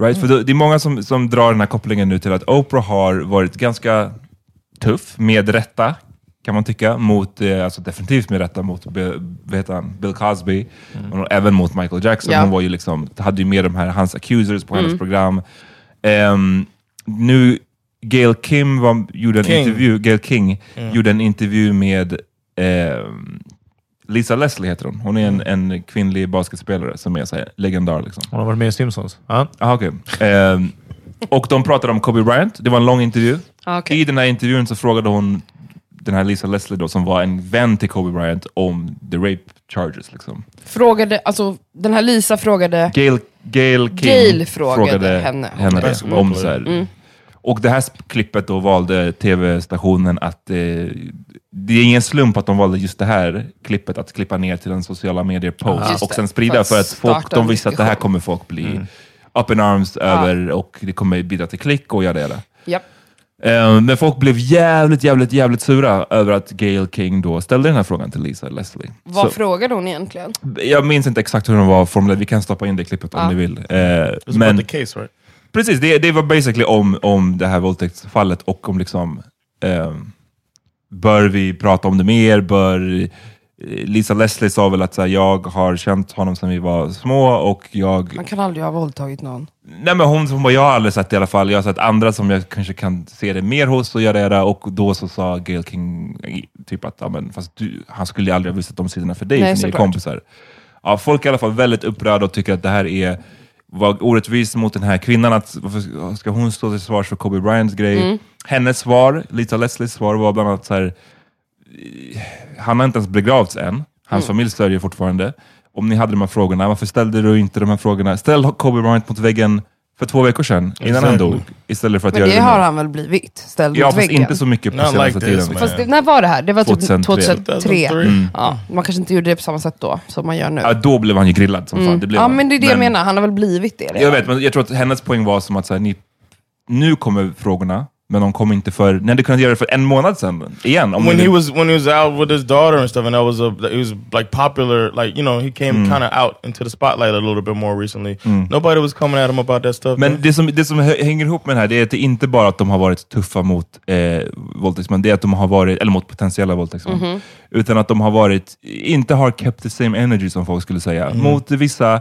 Speaker 2: Right? För då, det är många som, som drar den här kopplingen nu till att Oprah har varit ganska tuff, med rätta, kan man tycka, mot, eh, alltså definitivt med rätta mot Bill, vad heter han? Bill Cosby, och även mot Michael Jackson.
Speaker 6: Ja.
Speaker 2: Hon var ju liksom, hade ju med de här, hans accusers på hennes program. Ehm, nu, Gail Kim var, gjorde en
Speaker 4: King.
Speaker 2: intervju, Gail King, gjorde en intervju med ehm, Lisa Leslie heter hon. Hon är en, en kvinnlig basketspelare som är så här, legendar. Liksom.
Speaker 3: Hon har varit med i Simpsons. Ja.
Speaker 2: Aha, okej. Ehm, Och de pratade om Kobe Bryant. Det var en lång intervju.
Speaker 6: Ah, okej.
Speaker 2: I den här intervjun så frågade hon den här Lisa Leslie då, som var en vän till Kobe Bryant, om the rape charges. Liksom.
Speaker 6: Frågade, alltså den här Lisa frågade...
Speaker 2: Gail, Gail King
Speaker 6: Gail frågade henne Mm. om
Speaker 2: henne
Speaker 6: det.
Speaker 2: om, så här. Och det här sp- klippet då valde tv-stationen att... Eh, det är ingen slump att de valde just det här klippet att klippa ner till en sociala medier-post
Speaker 6: Ah. Just
Speaker 2: och
Speaker 6: det,
Speaker 2: sen
Speaker 6: för
Speaker 2: sprida
Speaker 6: att
Speaker 2: för att folk,
Speaker 6: starta en
Speaker 2: de visste att det här
Speaker 6: diskussion. Mm.
Speaker 2: kommer folk bli up in arms över och det kommer bidra till klick och göra det.
Speaker 6: Japp.
Speaker 2: Eh, Men folk blev jävligt, jävligt, jävligt sura över att Gail King då ställde den här frågan till Lisa Leslie.
Speaker 6: Vad
Speaker 2: Så-
Speaker 6: frågade hon egentligen?
Speaker 2: jag minns inte exakt hur den var formulerad, vi kan stoppa in det klippet om
Speaker 6: Ja.
Speaker 2: ni vill. Eh,
Speaker 4: It's
Speaker 2: men
Speaker 4: about the case, right?
Speaker 2: precis, det, det var basically om, om det här våldtäktsfallet och om liksom, ehm, bör vi prata om det mer? Bör, eh, Lisa Leslie sa väl att så här, jag har känt honom sedan vi var små och jag...
Speaker 6: Man kan aldrig ha våldtagit någon.
Speaker 2: Nej, men hon, hon bara, jag har aldrig sett det i alla fall. Jag har sett andra som jag kanske kan se det mer hos och göra det. Och då så sa Gail King eh, typ att ja, men, fast du, han skulle ju aldrig ha visat de sidorna för dig,
Speaker 6: Nej,
Speaker 2: för ni är
Speaker 6: såklart.
Speaker 2: kompisar. Ja, folk är i alla fall väldigt upprörda och tycker att det här är var orättvist mot den här kvinnan. Att, varför ska hon stå till svars för Kobe Bryants grej?
Speaker 6: Mm.
Speaker 2: Hennes svar, Lisa Leslies svar, var bland annat så här, han har inte ens begravts än. Hans
Speaker 6: Mm.
Speaker 2: familj sörjer fortfarande. Om ni hade de här frågorna, varför ställde du inte de här frågorna? Ställ Kobe Bryant mot väggen för två veckor sedan, innan han
Speaker 4: Exactly.
Speaker 2: dog. Istället för att
Speaker 6: Men
Speaker 2: göra
Speaker 6: det har
Speaker 2: nu.
Speaker 6: han väl blivit? Ställd
Speaker 2: Ja,
Speaker 6: mot
Speaker 2: fast
Speaker 6: väggen?
Speaker 2: inte så mycket på
Speaker 4: Not
Speaker 2: senaste
Speaker 4: like this,
Speaker 2: tiden.
Speaker 4: man.
Speaker 2: liksom.
Speaker 6: Fast det, när var det här? Det var typ
Speaker 2: 2003.
Speaker 6: 2003.
Speaker 4: Mm.
Speaker 6: Ja, man kanske inte gjorde det på samma sätt då, som man gör nu.
Speaker 2: Ja, då blev han ju grillad som fan. Det blev
Speaker 6: Mm. ja,
Speaker 2: han.
Speaker 6: men det är det jag menar. Han har väl blivit det redan.
Speaker 2: Jag vet, men jag tror att hennes poäng var som att så här, ni, nu kommer frågorna, men de kom inte för... Ni hade kunnat göra det för en månad sedan, igen. Om
Speaker 4: when
Speaker 2: ni
Speaker 4: he
Speaker 2: vill-
Speaker 4: was when he was out with his daughter and stuff, and that was a he was like popular, like you know he came kind of out into the spotlight a little bit more recently. Nobody was coming at him about that stuff.
Speaker 2: Men
Speaker 4: Mm. man.
Speaker 2: det som, det som hö- hänger ihop med det här, det är att det inte bara att de har varit tuffa mot eh, våldtäktsmän, det är att de har varit, eller mot potentiella våldtäktsmän,
Speaker 6: Mhm.
Speaker 2: utan att de har varit, inte har kept the same energy som folk skulle säga,
Speaker 4: Mm.
Speaker 2: mot vissa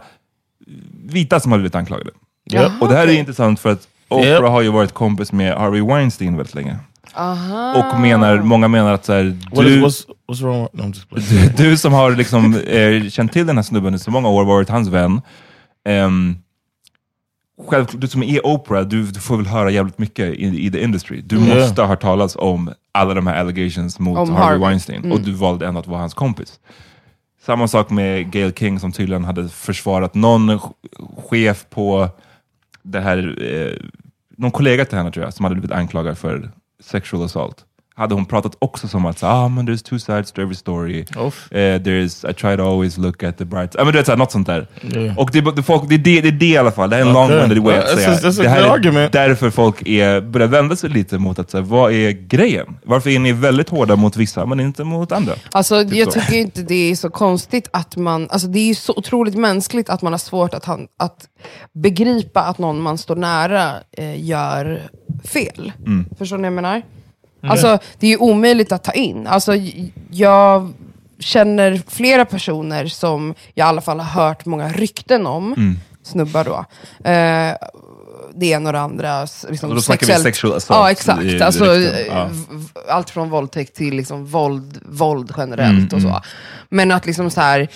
Speaker 2: vita som har blivit anklagade.
Speaker 4: Jaha,
Speaker 2: Och det här
Speaker 6: okej.
Speaker 2: är intressant för att Oprah
Speaker 4: Japp.
Speaker 2: har ju varit kompis med Harvey Weinstein väldigt länge.
Speaker 6: Ah.
Speaker 2: Och menar, många menar att så här,
Speaker 4: what is,
Speaker 2: du,
Speaker 4: what's what's wrong? No, I'm just playing.
Speaker 2: du, du som har liksom, eh, känt till den här snubben i så många år, varit hans vän. ehm, själv, du som är Oprah, du, du får väl höra jävligt mycket i, i the industry. Du
Speaker 4: Mm.
Speaker 2: måste ha hört talas om alla de här allegations
Speaker 6: Om
Speaker 2: mot Harvey,
Speaker 6: Harvey. Mm.
Speaker 2: Weinstein och du valde ändå att vara hans kompis. Samma sak med Gail King som tydligen hade försvarat någon ch- chef på det här, eh, någon kollega till henne tror jag, som hade blivit anklagad för sexual assault. Hade hon pratat också som att, så, ah, men there's two sides to every story.
Speaker 4: Uff.
Speaker 2: Eh, there's, I try to always look at the bright... Ja, men du vet, så här, något sånt där.
Speaker 4: Yeah.
Speaker 2: Och det, det, folk, det, är det, det är det i alla fall. Det här är en
Speaker 4: Okej.
Speaker 2: long-winded way att
Speaker 4: That's a-
Speaker 2: säga.
Speaker 4: that's a
Speaker 2: det här
Speaker 4: good
Speaker 2: är
Speaker 4: argument.
Speaker 2: därför folk är, börjar vända sig lite mot att, så här, vad är grejen? Varför är ni väldigt hårda mot vissa, men inte mot andra?
Speaker 6: Alltså,
Speaker 2: Typ
Speaker 6: jag
Speaker 2: så.
Speaker 6: tycker ju inte det är så konstigt att man... Alltså, det är ju så otroligt mänskligt att man har svårt att, han, att begripa att någon man står nära eh, gör fel.
Speaker 2: Mm.
Speaker 6: Förstår ni vad jag menar? Alltså, det är ju omöjligt att ta in. Alltså, j- jag känner flera personer som jag i alla fall har hört många rykten om,
Speaker 2: Mm.
Speaker 6: snubbar då. Eh, det ena och det andra. s- Liksom,
Speaker 2: Och då snackar vi
Speaker 6: sexuellt-
Speaker 2: sexual assault
Speaker 6: Ja,
Speaker 2: i-
Speaker 6: exakt.
Speaker 2: i
Speaker 6: Alltså,
Speaker 2: rykten. Ja.
Speaker 6: v- v- allt från våldtäkt till liksom våld, våld generellt
Speaker 2: Mm,
Speaker 6: och så. Men att liksom så här,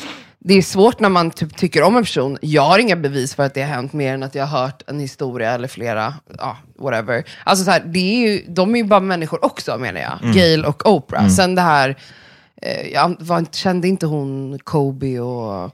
Speaker 6: det är svårt när man typ tycker om en person. Jag har inga bevis för att det har hänt mer än att jag har hört en historia eller flera, ja, whatever. Alltså så här, det är ju, de är ju bara människor också menar jag.
Speaker 2: Mm.
Speaker 6: Gail och Oprah. Sen det här, eh, jag var, inte- kände inte hon Kobe och...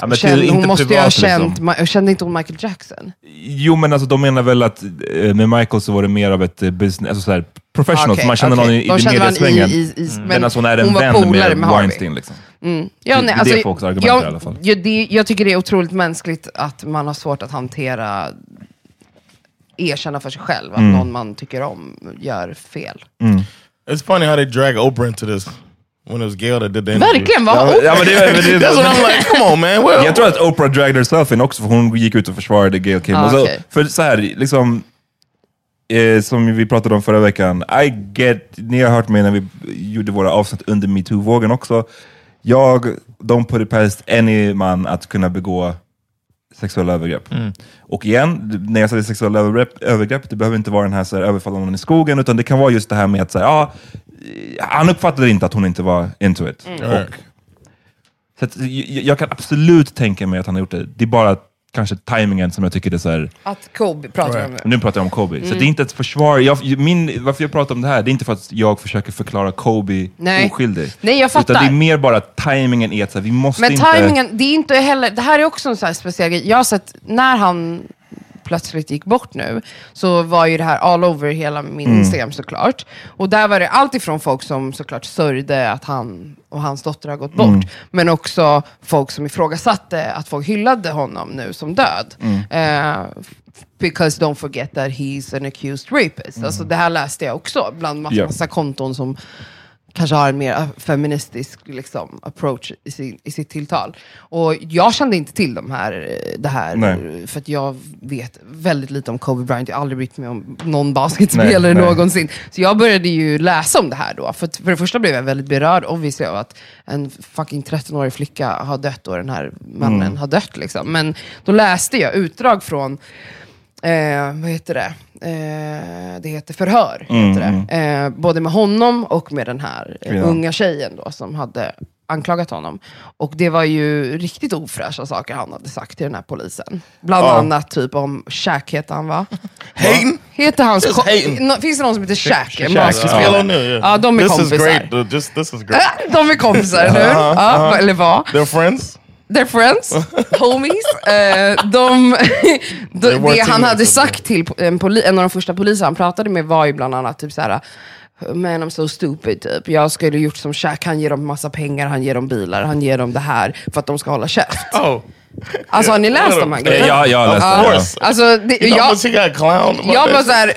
Speaker 2: Ja, men
Speaker 6: kände,
Speaker 2: till-
Speaker 6: hon
Speaker 2: inte
Speaker 6: måste ju ha
Speaker 2: privat,
Speaker 6: känt,
Speaker 2: liksom.
Speaker 6: ma- kände inte hon Michael Jackson?
Speaker 2: Jo, men alltså, de menar väl att eh, med Michael så var det mer av ett eh, business, alltså, så här, professional,
Speaker 6: Ah, Okej,
Speaker 2: så man känner
Speaker 6: okej.
Speaker 2: någon i, i
Speaker 6: De känner varandra
Speaker 2: mediasvängen.
Speaker 6: i- i- i- men
Speaker 2: men alltså, hon är en
Speaker 6: hon var
Speaker 2: vän
Speaker 6: polare
Speaker 2: med,
Speaker 6: med Harvey.
Speaker 2: Weinstein. Liksom.
Speaker 6: Ja,
Speaker 2: Det-
Speaker 6: nej,
Speaker 2: det är
Speaker 6: alltså,
Speaker 2: det folks argument
Speaker 6: jag,
Speaker 2: i alla fall.
Speaker 6: Ja, det, jag tycker det är otroligt mänskligt att man har svårt att hantera, erkänna för sig själv
Speaker 2: Mm.
Speaker 6: att någon man tycker om gör fel.
Speaker 4: It's funny how they drag Oprah into this when it was Gail that did the interview.
Speaker 6: Verkligen, vad ja,
Speaker 2: Ja, men det, men det,
Speaker 4: That's what I'm like. Come on, man. Well,
Speaker 2: Jag tror att Oprah dragged herself in också, för hon gick ut och försvarade Gail Kim.
Speaker 6: Ah,
Speaker 2: och så,
Speaker 6: okej.
Speaker 2: För så här, liksom, eh, som vi pratade om förra veckan, I get, ni har hört mig när vi gjorde våra avsnitt under metoo-vågen också. Jag, de put it past any man att kunna begå sexuella övergrepp.
Speaker 6: Mm.
Speaker 2: Och igen, när jag säger sexuella övergrepp, övergrepp det behöver inte vara den här, så här överfalla någon i skogen, utan det kan vara just det här med att så här, ja, eh, han uppfattade inte att hon inte var into
Speaker 6: Mm.
Speaker 2: it. Och, så att, jag, jag kan absolut tänka mig att han har gjort det. Det är bara att kanske timingen som jag tycker är så här...
Speaker 6: Att Kobe pratar om det.
Speaker 2: Nu pratar jag om Kobe. Så
Speaker 6: Mm.
Speaker 2: det är inte ett försvar. Jag, min, varför jag pratar om det här, det är inte för att jag försöker förklara Kobe
Speaker 6: Nej.
Speaker 2: oskyldig.
Speaker 6: Nej, jag fattar.
Speaker 2: Utan det är mer bara att timingen är att så här, vi måste
Speaker 6: Men
Speaker 2: inte...
Speaker 6: tajmingen, det är inte heller, det här är också en sån här speciell grej. Jag har sett, när han plötsligt gick bort nu, så var ju det här all over hela min
Speaker 7: Mm.
Speaker 6: Instagram såklart. Och där var det allt ifrån folk som såklart sörjde att han och hans dotter har gått bort,
Speaker 7: Mm.
Speaker 6: men också folk som ifrågasatte att folk hyllade honom nu som död.
Speaker 7: Mm.
Speaker 6: Eh, because don't forget that he's an accused rapist. Alltså det här läste jag också bland massa,
Speaker 7: Mm. Ja.
Speaker 6: massa konton som kanske har en mer feministisk liksom, approach i, sin, i sitt tilltal. Och jag kände inte till de här, eh, det här,
Speaker 7: Nej.
Speaker 6: eh, för att jag vet väldigt lite om Kobe Bryant. Jag har aldrig brytt mig om någon basketspelare
Speaker 7: Nej, nej.
Speaker 6: någonsin. Så jag började ju läsa om det här då. För, att, för det första blev jag väldigt berörd obviously av att en fucking 13-årig flicka har dött och den här mannen
Speaker 7: Mm.
Speaker 6: har dött. Liksom. Men då läste jag utdrag från Eh, vad heter det? Eh, det heter förhör.
Speaker 7: Mm,
Speaker 6: heter det. Eh, både med honom och med den här eh,
Speaker 7: Kvinnan.
Speaker 6: unga tjejen då, som hade anklagat honom. Och det var ju riktigt ofräscha saker han hade sagt till den här polisen. Bland
Speaker 7: Ja.
Speaker 6: annat typ om Shaq heter han va? Hayden? Heter hans
Speaker 7: Just
Speaker 6: ko-
Speaker 7: Hayden.
Speaker 6: Nå- Finns det någon som heter Shaq? En
Speaker 4: Shaquille
Speaker 6: basketspelare?
Speaker 4: O'Neal, yeah.
Speaker 6: Ja, de är
Speaker 4: this Is
Speaker 6: kompisar.
Speaker 4: great, dude. This, this is great.
Speaker 6: De är kompisar, eller hur?
Speaker 4: Uh-huh,
Speaker 6: Ja,
Speaker 4: uh-huh.
Speaker 6: Eller vad?
Speaker 4: They're friends?
Speaker 6: They're friends, homies. Eh, de,
Speaker 4: They
Speaker 6: de,
Speaker 4: were
Speaker 6: det han hade
Speaker 4: teenagers,
Speaker 6: sagt till en, poli, en av de första poliser han pratade med var ju bland annat typ såhär, man I'm so stupid, typ. jag skulle gjort som Shaq, han ger dem massa pengar, han ger dem bilar, han ger dem det här för att de ska hålla käft.
Speaker 4: Oh.
Speaker 6: Alltså har ni läst de här grejerna?
Speaker 2: Ja, jag har läst
Speaker 6: Ja.
Speaker 2: det, ja.
Speaker 6: Alltså, det,
Speaker 4: You know how
Speaker 6: jag,
Speaker 4: much he got clown?
Speaker 6: jag bara såhär,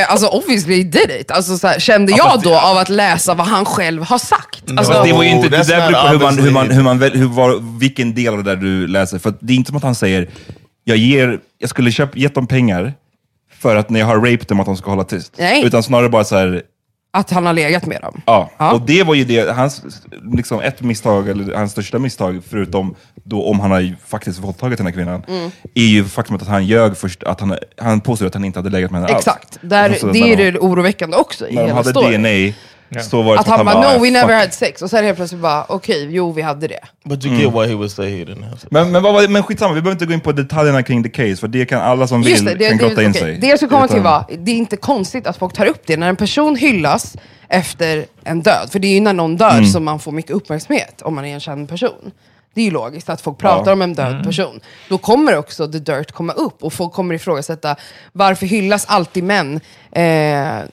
Speaker 6: eh, alltså obviously he did it. Alltså, så här, kände jag då av att läsa vad han själv har sagt.
Speaker 4: Mm.
Speaker 6: Alltså,
Speaker 2: Fast det var ju inte, det
Speaker 4: oh, that's
Speaker 2: där
Speaker 4: not
Speaker 2: beror på hur man, hur man,
Speaker 4: obviously-
Speaker 2: hur man, väl- hur, var, vilken del av det där du läser. För att det är inte som att han säger, jag, ger, jag skulle köpa, gett dem pengar för att när jag har raped dem att de ska hålla tyst.
Speaker 6: Nej.
Speaker 2: Utan snarare bara så här,
Speaker 6: Att han har legat med dem.
Speaker 2: Ja, och det var ju det, hans, liksom ett misstag, eller hans största misstag, förutom då om han har ju faktiskt våldtagit den här kvinnan,
Speaker 6: Mm.
Speaker 2: är ju faktumet att han ljög först, att han, han påstod att han inte hade legat med henne alls.
Speaker 6: Exakt, där,
Speaker 2: Och så-
Speaker 6: det
Speaker 2: när
Speaker 6: är
Speaker 2: de-
Speaker 6: det oroväckande också i
Speaker 2: När de
Speaker 6: hela
Speaker 2: hade
Speaker 6: storyn.
Speaker 2: DNA, så var det
Speaker 6: Att
Speaker 2: som
Speaker 6: han bara,
Speaker 2: "Ah,
Speaker 6: no we
Speaker 2: fuck."
Speaker 6: never had sex. Och sen helt plötsligt bara, okej, jo vi hade det.
Speaker 4: But you
Speaker 2: Mm.
Speaker 4: get why he would say he didn't have sex.
Speaker 2: Men, men, vad var det- men skitsamma, vi behöver inte gå in på detaljerna kring the case, för det kan alla som vill kan grotta in
Speaker 6: okej.
Speaker 2: sig.
Speaker 6: det jag skulle komma till
Speaker 2: Utan-
Speaker 6: var, det är inte konstigt att folk tar upp det. När en person hyllas efter en död, för det är ju när någon dör
Speaker 7: Mm.
Speaker 6: som man får mycket uppmärksamhet om man är en känd person. Det är ju logiskt att folk pratar
Speaker 7: Ja.
Speaker 6: om en död
Speaker 7: Mm.
Speaker 6: person. Då kommer också the dirt komma upp och folk kommer ifrågasätta varför hyllas alltid män eh,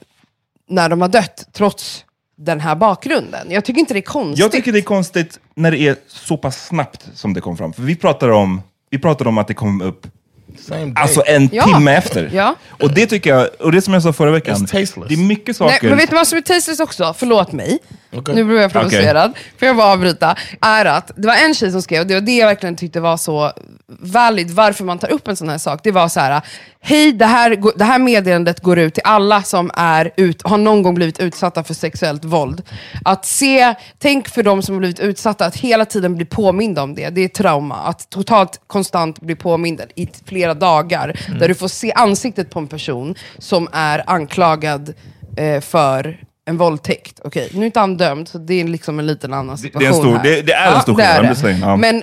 Speaker 6: när de har dött trots den här bakgrunden. Jag tycker inte det är konstigt.
Speaker 2: Jag tycker det är konstigt när det är så pass snabbt som det kom fram. För vi pratar om, vi pratar om att det kom upp alltså en
Speaker 6: Ja.
Speaker 2: timme efter.
Speaker 6: Ja.
Speaker 2: Och det tycker jag, och det som jag sa förra veckan, det är mycket saker.
Speaker 6: Nej, men vet du vad som är tasteless också? Förlåt mig.
Speaker 2: Okej.
Speaker 6: Nu blev jag
Speaker 2: Okej.
Speaker 6: provocerad. Får jag bara avbryta? Är att det var en tjej som skrev, det var det jag verkligen tyckte var så valid, varför man tar upp en sån här sak. Det var så här, hej det här, gå- det här meddelandet går ut till alla som är ut, har någon gång blivit utsatta för sexuellt våld. Att se, tänk för de som har blivit utsatta, att hela tiden bli påminda om det. Det är trauma. Att totalt konstant bli påmind i t- flera dagar.
Speaker 7: Mm.
Speaker 6: Där du får se ansiktet på en person som är anklagad eh, för en våldtäkt. Okej, nu är inte han dömd, så det är liksom en liten annan situation.
Speaker 2: det är en stor-
Speaker 6: här.
Speaker 2: det- det är en stor
Speaker 6: det
Speaker 2: skillnad,
Speaker 6: är
Speaker 2: I'm
Speaker 6: det.
Speaker 2: just saying, ja.
Speaker 6: Men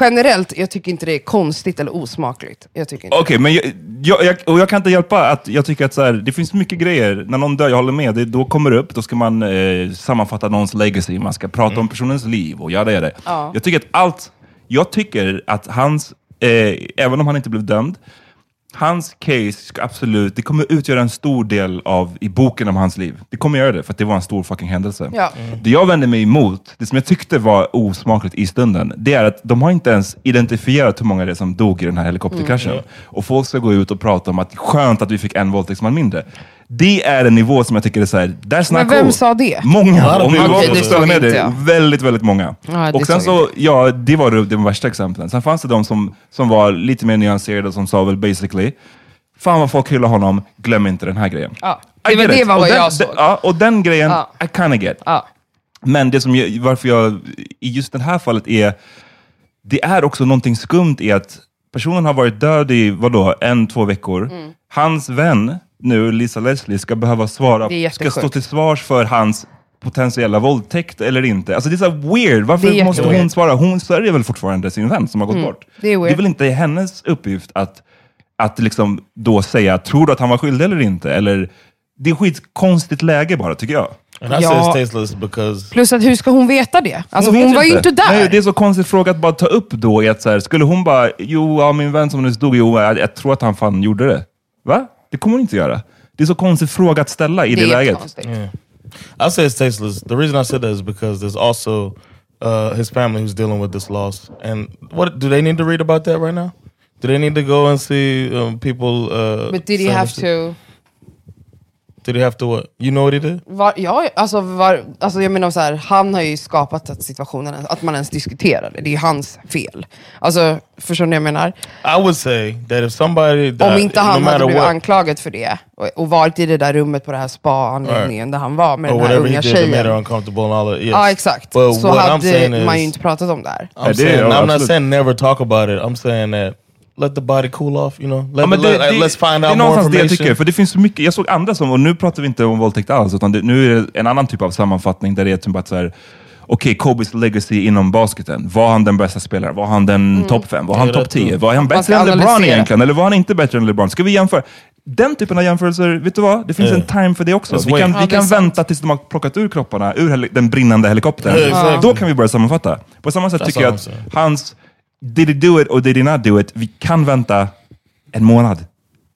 Speaker 6: generellt, jag tycker inte det är konstigt eller osmakligt. Jag tycker inte.
Speaker 2: Okej, men jag, jag, jag, och jag kan inte hjälpa att jag tycker att så här, det finns mycket grejer. När någon dör, jag håller med, det, då kommer det upp, då ska man eh, sammanfatta någons legacy, man ska prata om personens liv och göra det.
Speaker 7: Ja.
Speaker 2: Jag tycker att allt, jag tycker att hans, eh, även om han inte blev dömd, hans case ska absolut, det kommer utgöra en stor del av, i boken om hans liv. Det kommer göra det, för att det var en stor fucking händelse.
Speaker 7: Ja. Mm.
Speaker 2: Det jag vände mig emot, det som jag tyckte var osmakligt i stunden, det är att de har inte ens identifierat hur många det är som dog i den här helikopterkraschen.
Speaker 7: Mm.
Speaker 2: Och folk ska gå ut och prata om att skönt att vi fick en våldtäktsman mindre. Det är en nivå som jag tycker är såhär, that's
Speaker 6: Men
Speaker 2: not
Speaker 6: vem
Speaker 2: cool.
Speaker 6: sa det?
Speaker 2: Många. Om du
Speaker 6: Okej,
Speaker 2: var
Speaker 6: det
Speaker 2: på
Speaker 6: såg
Speaker 2: ställen med
Speaker 6: inte
Speaker 2: det,
Speaker 6: jag.
Speaker 2: väldigt, väldigt många.
Speaker 6: Ja, det
Speaker 2: och sen
Speaker 6: såg
Speaker 2: så, ja, det var de de värsta exemplen. Sen fanns det de som, som var lite mer nyanserade och som sa väl basically, fan vad folk hyllar honom, glöm inte den här grejen.
Speaker 6: Ja.
Speaker 2: I
Speaker 6: Det var
Speaker 2: get
Speaker 6: det
Speaker 2: it.
Speaker 6: var
Speaker 2: Och
Speaker 6: vad
Speaker 2: den,
Speaker 6: jag såg.
Speaker 2: den- Ja, och den grejen,
Speaker 6: Ja.
Speaker 2: I kinda get.
Speaker 6: Ja.
Speaker 2: Men det som jag, varför jag i just det här fallet är, det är också någonting skumt i att personen har varit död i, vadå, en, två veckor.
Speaker 6: Mm.
Speaker 2: Hans vän nu, Lisa Leslie, ska behöva svara,
Speaker 7: Det är
Speaker 2: ska stå
Speaker 7: jättesjukt.
Speaker 2: till svars för hans potentiella våldtäkt eller inte. Alltså det är så här weird. Varför
Speaker 6: Det är
Speaker 2: måste hon
Speaker 6: jätteweird. Mm.
Speaker 2: svara? Hon sörjer väl fortfarande sin vän som har gått bort?
Speaker 6: det är weird.
Speaker 2: väl inte hennes uppgift att, att liksom då säga, tror du att han var skyldig eller inte? Eller, det är skitkonstigt läge bara, tycker jag.
Speaker 4: And I
Speaker 6: Ja.
Speaker 4: say it's tasteless because
Speaker 6: Plus att hur ska hon veta det? Alltså hon,
Speaker 2: vet
Speaker 6: var ju inte där.
Speaker 2: Nej, det är så konstigt fråga att bara ta upp då. Är att så här, skulle hon bara, jo, ja, min vän som nyss dog, jo, jag, jag tror att han fan gjorde det. Va? Det kommer hon inte göra. Det är så konstig fråga att ställa i det,
Speaker 6: Det är
Speaker 2: läget.
Speaker 6: jättekonstigt.
Speaker 4: I say it's tasteless. The reason I said that is because there's also uh, his family who's dealing with this loss. And what do they need to read about that right now? Do they need to go and see um, people? Uh,
Speaker 6: But did he
Speaker 4: saying
Speaker 6: have
Speaker 4: this-
Speaker 6: to...
Speaker 4: Did he have to what? You know what he did?
Speaker 6: Var, ja, alltså, var, alltså jag menar så här, han har ju skapat att situationen, att man ens diskuterar det. Det är ju hans fel. Alltså, förstår ni vad jag menar?
Speaker 4: I would say that if somebody
Speaker 6: Om
Speaker 4: died,
Speaker 6: inte
Speaker 4: no
Speaker 6: han hade
Speaker 4: matter
Speaker 6: blivit
Speaker 4: what,
Speaker 6: anklagad för det och, och varit i det där rummet på det här spa-anläggningen där han var med
Speaker 4: or
Speaker 6: den här
Speaker 4: whatever he
Speaker 6: unga
Speaker 4: did that made her
Speaker 6: tjejen.
Speaker 4: uncomfortable and all that. Yes.
Speaker 6: Ja, exakt.
Speaker 4: But
Speaker 6: Så
Speaker 4: what I'm
Speaker 6: hade
Speaker 4: saying is,
Speaker 6: man ju inte pratat om det här.
Speaker 4: I'm,
Speaker 2: Yeah,
Speaker 4: saying,
Speaker 2: yeah,
Speaker 4: I'm not
Speaker 2: absolutely.
Speaker 4: saying never talk about it. I'm saying that let the body cool off. You know, let,
Speaker 2: Ja, men
Speaker 4: the- let, let's find
Speaker 2: det är
Speaker 4: out more
Speaker 2: någonstans det jag
Speaker 4: information.
Speaker 2: tycker, för det finns så mycket. Jag såg andra som, och nu pratar vi inte om våldtäkt alls, utan det, nu är det en annan typ av sammanfattning där det är typ att så här, okej, Kobes legacy inom basketen. Var han den bästa spelaren? Var han den topp 5? Var han
Speaker 4: Mm. det är
Speaker 2: topp 10?
Speaker 4: true.
Speaker 2: Var han
Speaker 6: ska
Speaker 2: bättre än LeBron
Speaker 6: analysera.
Speaker 2: egentligen? Eller var han inte bättre än LeBron? Ska vi jämföra? Den typen av jämförelser, vet du vad? Det finns
Speaker 4: Ja.
Speaker 2: en time för det också.
Speaker 4: Let's
Speaker 2: Vi
Speaker 4: wait.
Speaker 2: kan, vi
Speaker 6: Ja, det är
Speaker 2: kan
Speaker 6: sant.
Speaker 2: vänta tills de har plockat ur kropparna ur heli- den brinnande helikoptern.
Speaker 4: Ja, exakt.
Speaker 2: Då kan vi börja sammanfatta. På samma sätt
Speaker 4: That's
Speaker 2: tycker jag
Speaker 4: what
Speaker 2: att
Speaker 4: I'm saying.
Speaker 2: hans did it do it och did it not do it, vi kan vänta en månad.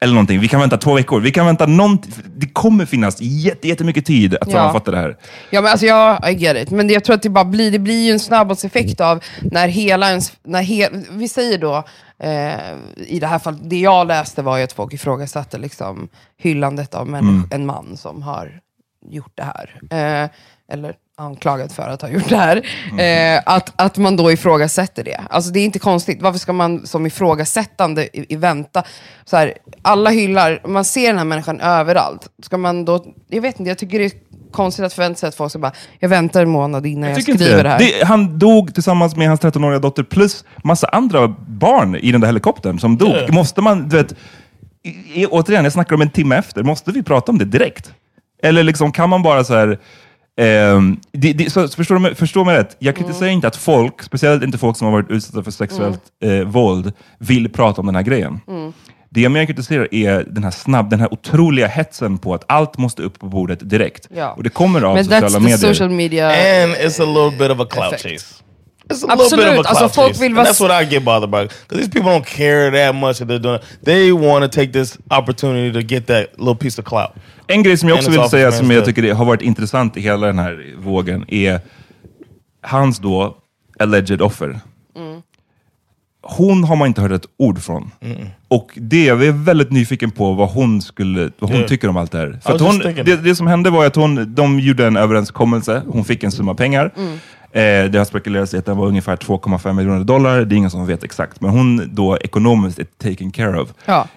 Speaker 2: Eller någonting. Vi kan vänta två veckor. Vi kan vänta någonting. Det kommer finnas jätte, jättemycket tid att
Speaker 6: Ja.
Speaker 2: sammanfatta det här.
Speaker 6: Ja, men alltså jag I get it. Men jag tror att det bara blir, det blir ju en snabbhetseffekt
Speaker 4: Mm.
Speaker 6: av när hela ens... När he, vi säger då, eh, i det här fallet, det jag läste var ju att folk ifrågasatte liksom, hyllandet av människ-
Speaker 4: Mm.
Speaker 6: en man som har gjort det här. Eh, eller anklagad för att ha gjort det här.
Speaker 2: Mhm.
Speaker 6: Eh, att, att man då ifrågasätter det. Alltså det är inte konstigt. Varför ska man som ifrågasättande i, i vänta? Så här, alla hyllar, man ser den här människan överallt. Ska man då... Jag vet inte, jag tycker det är konstigt att förvänta sig att folk ska bara, jag väntar en månad innan jag,
Speaker 2: tycker inte
Speaker 6: skriver det här.
Speaker 2: Det, han dog tillsammans med hans 13-åriga dotter plus massa andra barn i den där helikoptern som dog. Måste man, du vet, i, i, återigen, jag snackar om en timme efter. Måste vi prata om det direkt? Eller liksom, kan man bara så här... ehm, det, det, så, så förstår, du, mig- förstår mig rätt, jag kritiserar inte att folk, speciellt inte folk som har varit utsatta för sexuellt
Speaker 6: Mm.
Speaker 2: eh, våld, vill prata om den här grejen. Det jag mer kritiserar är den här, snabb, den här otroliga hetsen på att allt måste upp på bordet direkt.
Speaker 6: Ja.
Speaker 2: Och det kommer av
Speaker 6: Men that's
Speaker 2: sociala
Speaker 6: the
Speaker 2: medier. Eh,
Speaker 6: social media...
Speaker 4: and it's a little bit of a clout
Speaker 6: effect.
Speaker 4: chase. It's a little bit of a
Speaker 6: Absolute.
Speaker 4: clout
Speaker 6: Also, folk
Speaker 4: chase.
Speaker 6: will
Speaker 4: And
Speaker 6: was-
Speaker 4: that's what I get bothered by because these people don't care that much that they're doing. it. They want to take this opportunity to get that little piece of clout.
Speaker 2: En grej som jag också
Speaker 4: Enligt
Speaker 2: vill säga,
Speaker 4: Office
Speaker 2: som jag
Speaker 4: Man's
Speaker 2: tycker det har varit intressant i hela den här vågen, är hans då alleged offer. Mm. Hon har man inte hört ett ord från. Och det, jag är väldigt nyfiken på vad hon, skulle, vad hon
Speaker 4: Yeah.
Speaker 2: tycker om allt det här. För
Speaker 4: I was
Speaker 2: att hon,
Speaker 4: just thinking.
Speaker 2: det, det som hände var att hon, de gjorde en överenskommelse, hon fick en summa pengar. Eh, det har spekulerats i att den var ungefär 2,5 miljoner dollar, det är ingen som vet exakt. Men hon då ekonomiskt är taken care of.
Speaker 6: Ja.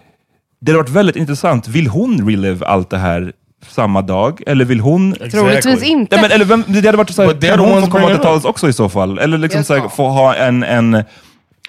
Speaker 2: Det hade varit väldigt intressant. Vill hon relive allt det här samma dag? Eller vill hon...
Speaker 6: Troligtvis inte.
Speaker 2: Nej, men, eller vem, det hade varit så här,
Speaker 4: But they're
Speaker 2: kan
Speaker 4: the
Speaker 2: hon
Speaker 4: ones
Speaker 2: få komma
Speaker 4: bringing
Speaker 2: till
Speaker 4: it up.
Speaker 2: tals också i så fall? Eller liksom
Speaker 6: Yes,
Speaker 2: så här,
Speaker 6: ja.
Speaker 2: få ha en, en,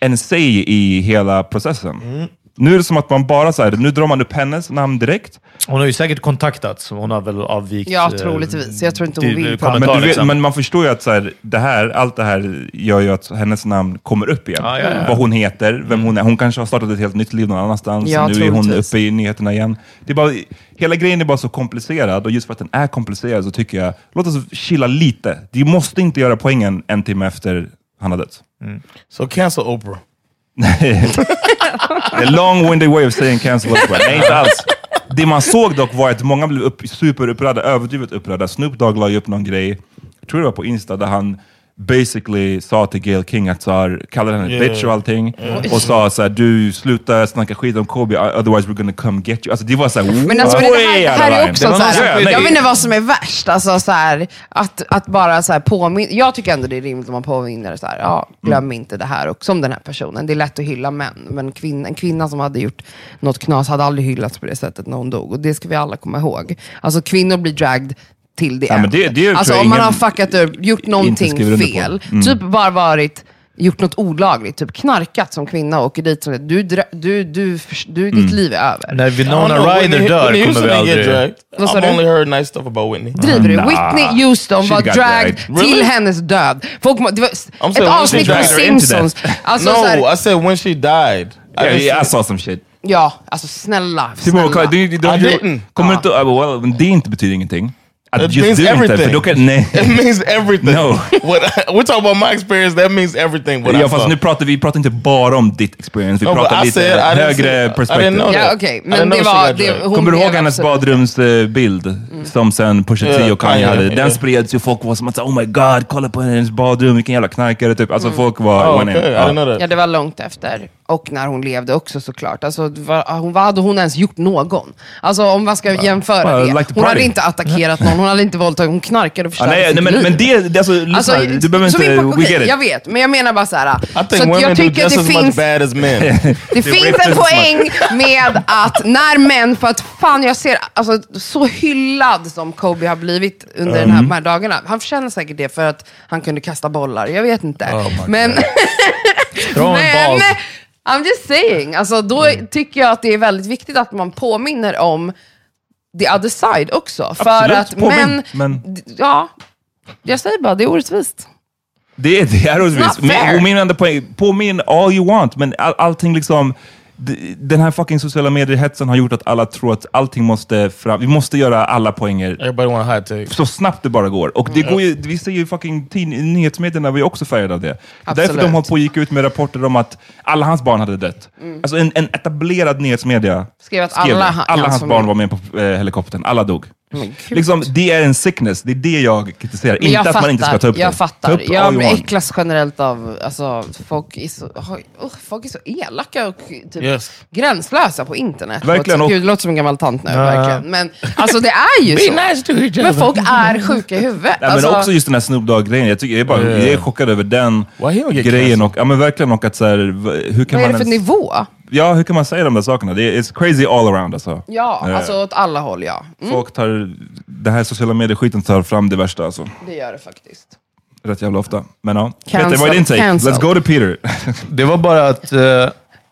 Speaker 2: en säg i hela processen? Nu är det som att man bara så här, nu drar man upp hennes namn direkt.
Speaker 7: Hon har ju säkert kontaktats. Hon har väl avvikt...
Speaker 6: Ja,
Speaker 7: eh,
Speaker 6: troligtvis. Jag tror inte hon
Speaker 7: till-
Speaker 6: vill
Speaker 7: eh,
Speaker 6: prata.
Speaker 2: Men,
Speaker 7: kommentar,
Speaker 2: du vet,
Speaker 7: liksom.
Speaker 2: men man förstår ju att så här, det här, allt det här gör ju att hennes namn kommer upp igen.
Speaker 7: Ah, Ja, ja, ja.
Speaker 2: Vad hon heter, vem hon är. Hon kanske har startat ett helt nytt liv någon annanstans.
Speaker 6: Ja,
Speaker 2: nu är hon
Speaker 6: troligtvis.
Speaker 2: uppe i nyheterna igen. Det är bara, hela grejen är bara så komplicerad och just för att den är komplicerad så tycker jag, låt oss chilla lite. Du måste inte göra poängen en timme efter han har dött.
Speaker 4: So cancel Oprah.
Speaker 2: A long winded way of saying cancel Oprah. Nej, inte alls. Det man såg dock var att många blev upp, superupprörda, överdrivet upprörda. Snoop Dogg la ju upp någon grej, jag tror det var på Insta, där han basically sa till Gail King att så här, kallade henne
Speaker 4: Yeah.
Speaker 2: bitch och allting. Och sa så här, du sluta snacka skit om Kobe, otherwise we're gonna come get you. Alltså det var så här,
Speaker 6: Men alltså, men det, här,
Speaker 2: way
Speaker 6: det
Speaker 2: out
Speaker 6: här
Speaker 2: of
Speaker 6: är
Speaker 2: line. Det
Speaker 6: också
Speaker 2: var
Speaker 6: så
Speaker 2: någon-
Speaker 6: här,
Speaker 2: Ja,
Speaker 6: jag
Speaker 2: nej.
Speaker 6: vet inte vad som är värst. Alltså, så här, att, att bara så här påmin- jag tycker ändå det är rimligt om man påminner, så här, ja, glöm
Speaker 2: Mm.
Speaker 6: inte det här. Och som den här personen, det är lätt att hylla män, men kvin- en kvinna som hade gjort något knas hade aldrig hyllats på det sättet när hon dog. Och det ska vi alla komma ihåg. Alltså kvinnor blir dragged till det.
Speaker 2: Ja, men det- det tror
Speaker 6: alltså
Speaker 2: jag
Speaker 6: om man
Speaker 2: ingen-
Speaker 6: har fuckat upp, gjort
Speaker 2: inte
Speaker 6: någonting
Speaker 2: skriver under på. Mm.
Speaker 6: fel, typ bara varit gjort något olagligt, typ knarkat som kvinna och åker dit. Som, det. du, dra- du, du, förs- du,
Speaker 2: Mm.
Speaker 6: ditt liv är över.
Speaker 3: När Winona
Speaker 4: know,
Speaker 3: Ryder
Speaker 4: Whitney-
Speaker 3: dör
Speaker 4: Whitney
Speaker 3: kommer vi
Speaker 4: Houston didn't get
Speaker 3: aldrig...
Speaker 4: dragged.
Speaker 6: Vad sa
Speaker 4: I've
Speaker 6: du?
Speaker 4: only heard nice stuff about Whitney.
Speaker 6: Driver du?
Speaker 3: Nah.
Speaker 6: Whitney Houston
Speaker 3: She
Speaker 6: var
Speaker 3: got
Speaker 6: dragged
Speaker 3: dragged.
Speaker 4: Really?
Speaker 6: till hennes död. Folk, må- det var s-
Speaker 4: I'm
Speaker 6: ett
Speaker 4: saying she
Speaker 6: avsnitt på
Speaker 4: dragged her
Speaker 3: into
Speaker 6: Simpsons. Alltså, så
Speaker 4: no,
Speaker 6: här,
Speaker 4: I said when she died. I
Speaker 2: Yeah,
Speaker 4: just-
Speaker 2: yeah, I saw some shit.
Speaker 6: ja, alltså snälla.
Speaker 2: Simon,
Speaker 6: snälla.
Speaker 2: det, det, det,
Speaker 4: I didn't.
Speaker 2: kommer inte, ah, well, men det inte betyder ingenting. Att
Speaker 4: It
Speaker 2: just
Speaker 4: means
Speaker 2: du inte, för
Speaker 4: everything.
Speaker 2: då kan... Nej.
Speaker 4: It means everything.
Speaker 2: No.
Speaker 4: What I, we're talking about my experience. That means everything. What I
Speaker 2: Ja,
Speaker 4: saw.
Speaker 2: fast nu pratar vi pratar inte bara om ditt experience, vi
Speaker 4: No, but
Speaker 2: pratar
Speaker 4: I
Speaker 2: lite
Speaker 4: said I didn't see- I
Speaker 2: högre
Speaker 4: didn't
Speaker 2: perspektiv.
Speaker 4: know
Speaker 6: Ja,
Speaker 4: that.
Speaker 6: okej.
Speaker 4: I didn't
Speaker 6: Men det
Speaker 4: know she
Speaker 6: var...
Speaker 4: got
Speaker 6: Det, hon
Speaker 4: dragged.
Speaker 6: alltså- Mm.
Speaker 2: Kommer du
Speaker 6: blev
Speaker 2: ihåg hennes
Speaker 6: absolut-
Speaker 2: badrumsbild som sen Pusha T
Speaker 4: Ja,
Speaker 2: och Kanye
Speaker 4: ja,
Speaker 2: hade?
Speaker 4: ja.
Speaker 2: Den spreds ju, folk var som att säga, oh my god, kolla på hennes badrum, vilken jävla knarkare typ.
Speaker 6: Mm.
Speaker 2: Alltså folk var...
Speaker 4: Oh,
Speaker 2: went in.
Speaker 4: okay. I
Speaker 2: Ja.
Speaker 4: didn't know that.
Speaker 6: Ja, det var långt efter. Och när hon levde också såklart. Alltså, det var, hon, vad hade hon ens gjort någon? Alltså om man ska jämföra
Speaker 2: well,
Speaker 6: det.
Speaker 2: like the
Speaker 6: hon hade
Speaker 2: party.
Speaker 6: inte attackerat någon, hon hade inte våldtagit, hon knarkade och
Speaker 2: Ah,
Speaker 6: förstörde
Speaker 2: nej,
Speaker 6: sitt
Speaker 2: nej, men,
Speaker 6: liv.
Speaker 2: men det, det alltså, lyssna, du behöver
Speaker 6: så
Speaker 2: inte,
Speaker 6: min po-
Speaker 2: we
Speaker 6: okej,
Speaker 2: get it.
Speaker 6: Jag vet, men jag menar bara så här.
Speaker 4: I
Speaker 6: så
Speaker 4: think
Speaker 6: att
Speaker 4: women
Speaker 6: jag
Speaker 4: do
Speaker 6: tycker att
Speaker 4: just
Speaker 6: det
Speaker 4: as much
Speaker 6: finns,
Speaker 4: bad as men.
Speaker 6: det finns en
Speaker 2: rapist much.
Speaker 6: poäng med att när män, för att fan jag ser, alltså så hyllad som Kobe har blivit under den
Speaker 2: Mm.
Speaker 6: här, de här dagarna. Han förtjänar säkert det för att han kunde kasta bollar, jag vet inte.
Speaker 2: Oh
Speaker 6: men
Speaker 3: Throw in
Speaker 6: men
Speaker 3: balls.
Speaker 6: I'm just saying, alltså, då
Speaker 2: Mm.
Speaker 6: tycker jag att det är väldigt viktigt att man påminner om the other side också. För
Speaker 2: Absolut,
Speaker 6: att
Speaker 2: påminn,
Speaker 6: män,
Speaker 2: men-
Speaker 6: d- ja, jag säger bara, det är orättvist.
Speaker 2: Det, är- det är orättvist.
Speaker 6: not fair.
Speaker 2: Min- och Min enda poäng, påminn all you want, men all, allting liksom... d- Den här fucking sociala mediehetsen har gjort att alla tror att allting måste fram... Vi måste göra alla poänger
Speaker 4: Everybody want a hot take.
Speaker 2: så snabbt det bara går. Och
Speaker 6: Mm.
Speaker 2: det går ju, vi ser ju fucking tid- nyhetsmedierna var ju också färgade av det. Därför de håller på och gick ut med rapporter om att alla hans barn hade dött. Alltså en, en etablerad nyhetsmedia
Speaker 6: Mm. Skrev att alla ha-
Speaker 2: alla
Speaker 6: hans
Speaker 2: hans
Speaker 6: familj-
Speaker 2: barn var med på eh, helikoptern. Alla dog.
Speaker 6: Men gud.
Speaker 2: Liksom, det är en sickness. Det är det jag kritiserar.
Speaker 6: Men
Speaker 2: inte att man inte ska ta upp
Speaker 6: jag
Speaker 2: det.
Speaker 6: fattar.
Speaker 2: Ta upp all you
Speaker 6: jag
Speaker 2: want.
Speaker 6: äcklas generellt av, alltså, folk, är så, oj, usch, folk är så elaka och typ,
Speaker 4: Yes.
Speaker 6: gränslösa på internet.
Speaker 2: Verkligen,
Speaker 6: Och,
Speaker 2: och-
Speaker 6: gud, det låter som en gammal tant nu. Verkligen. Men alltså det är ju så. Men folk är sjuka i huvudet.
Speaker 2: Nej,
Speaker 6: alltså, Mm.
Speaker 2: men också just den här Snoop Dogg-grejen. Jag, tycker- jag, är bara-
Speaker 4: Yeah.
Speaker 2: jag är chockad över den
Speaker 4: Why he don't get
Speaker 2: grejen.
Speaker 4: canceled?
Speaker 2: Och, ja, men verkligen. Och att så här, v- hur kan
Speaker 6: vad är det
Speaker 2: man
Speaker 6: för
Speaker 2: ens,
Speaker 6: nivå?
Speaker 2: Ja, hur kan man säga de där sakerna? Det är, it's crazy all around alltså.
Speaker 6: Ja,
Speaker 2: Eh.
Speaker 6: alltså åt alla håll ja.
Speaker 2: Mm. Folk tar, den här sociala medier-skiten tar fram det värsta alltså.
Speaker 6: Det gör det faktiskt.
Speaker 2: Rätt jävla ofta. Men ja.
Speaker 6: Cancel,
Speaker 2: Peter, vad är din take?
Speaker 6: cancel.
Speaker 2: Let's go to Peter.
Speaker 3: Det var bara att eh,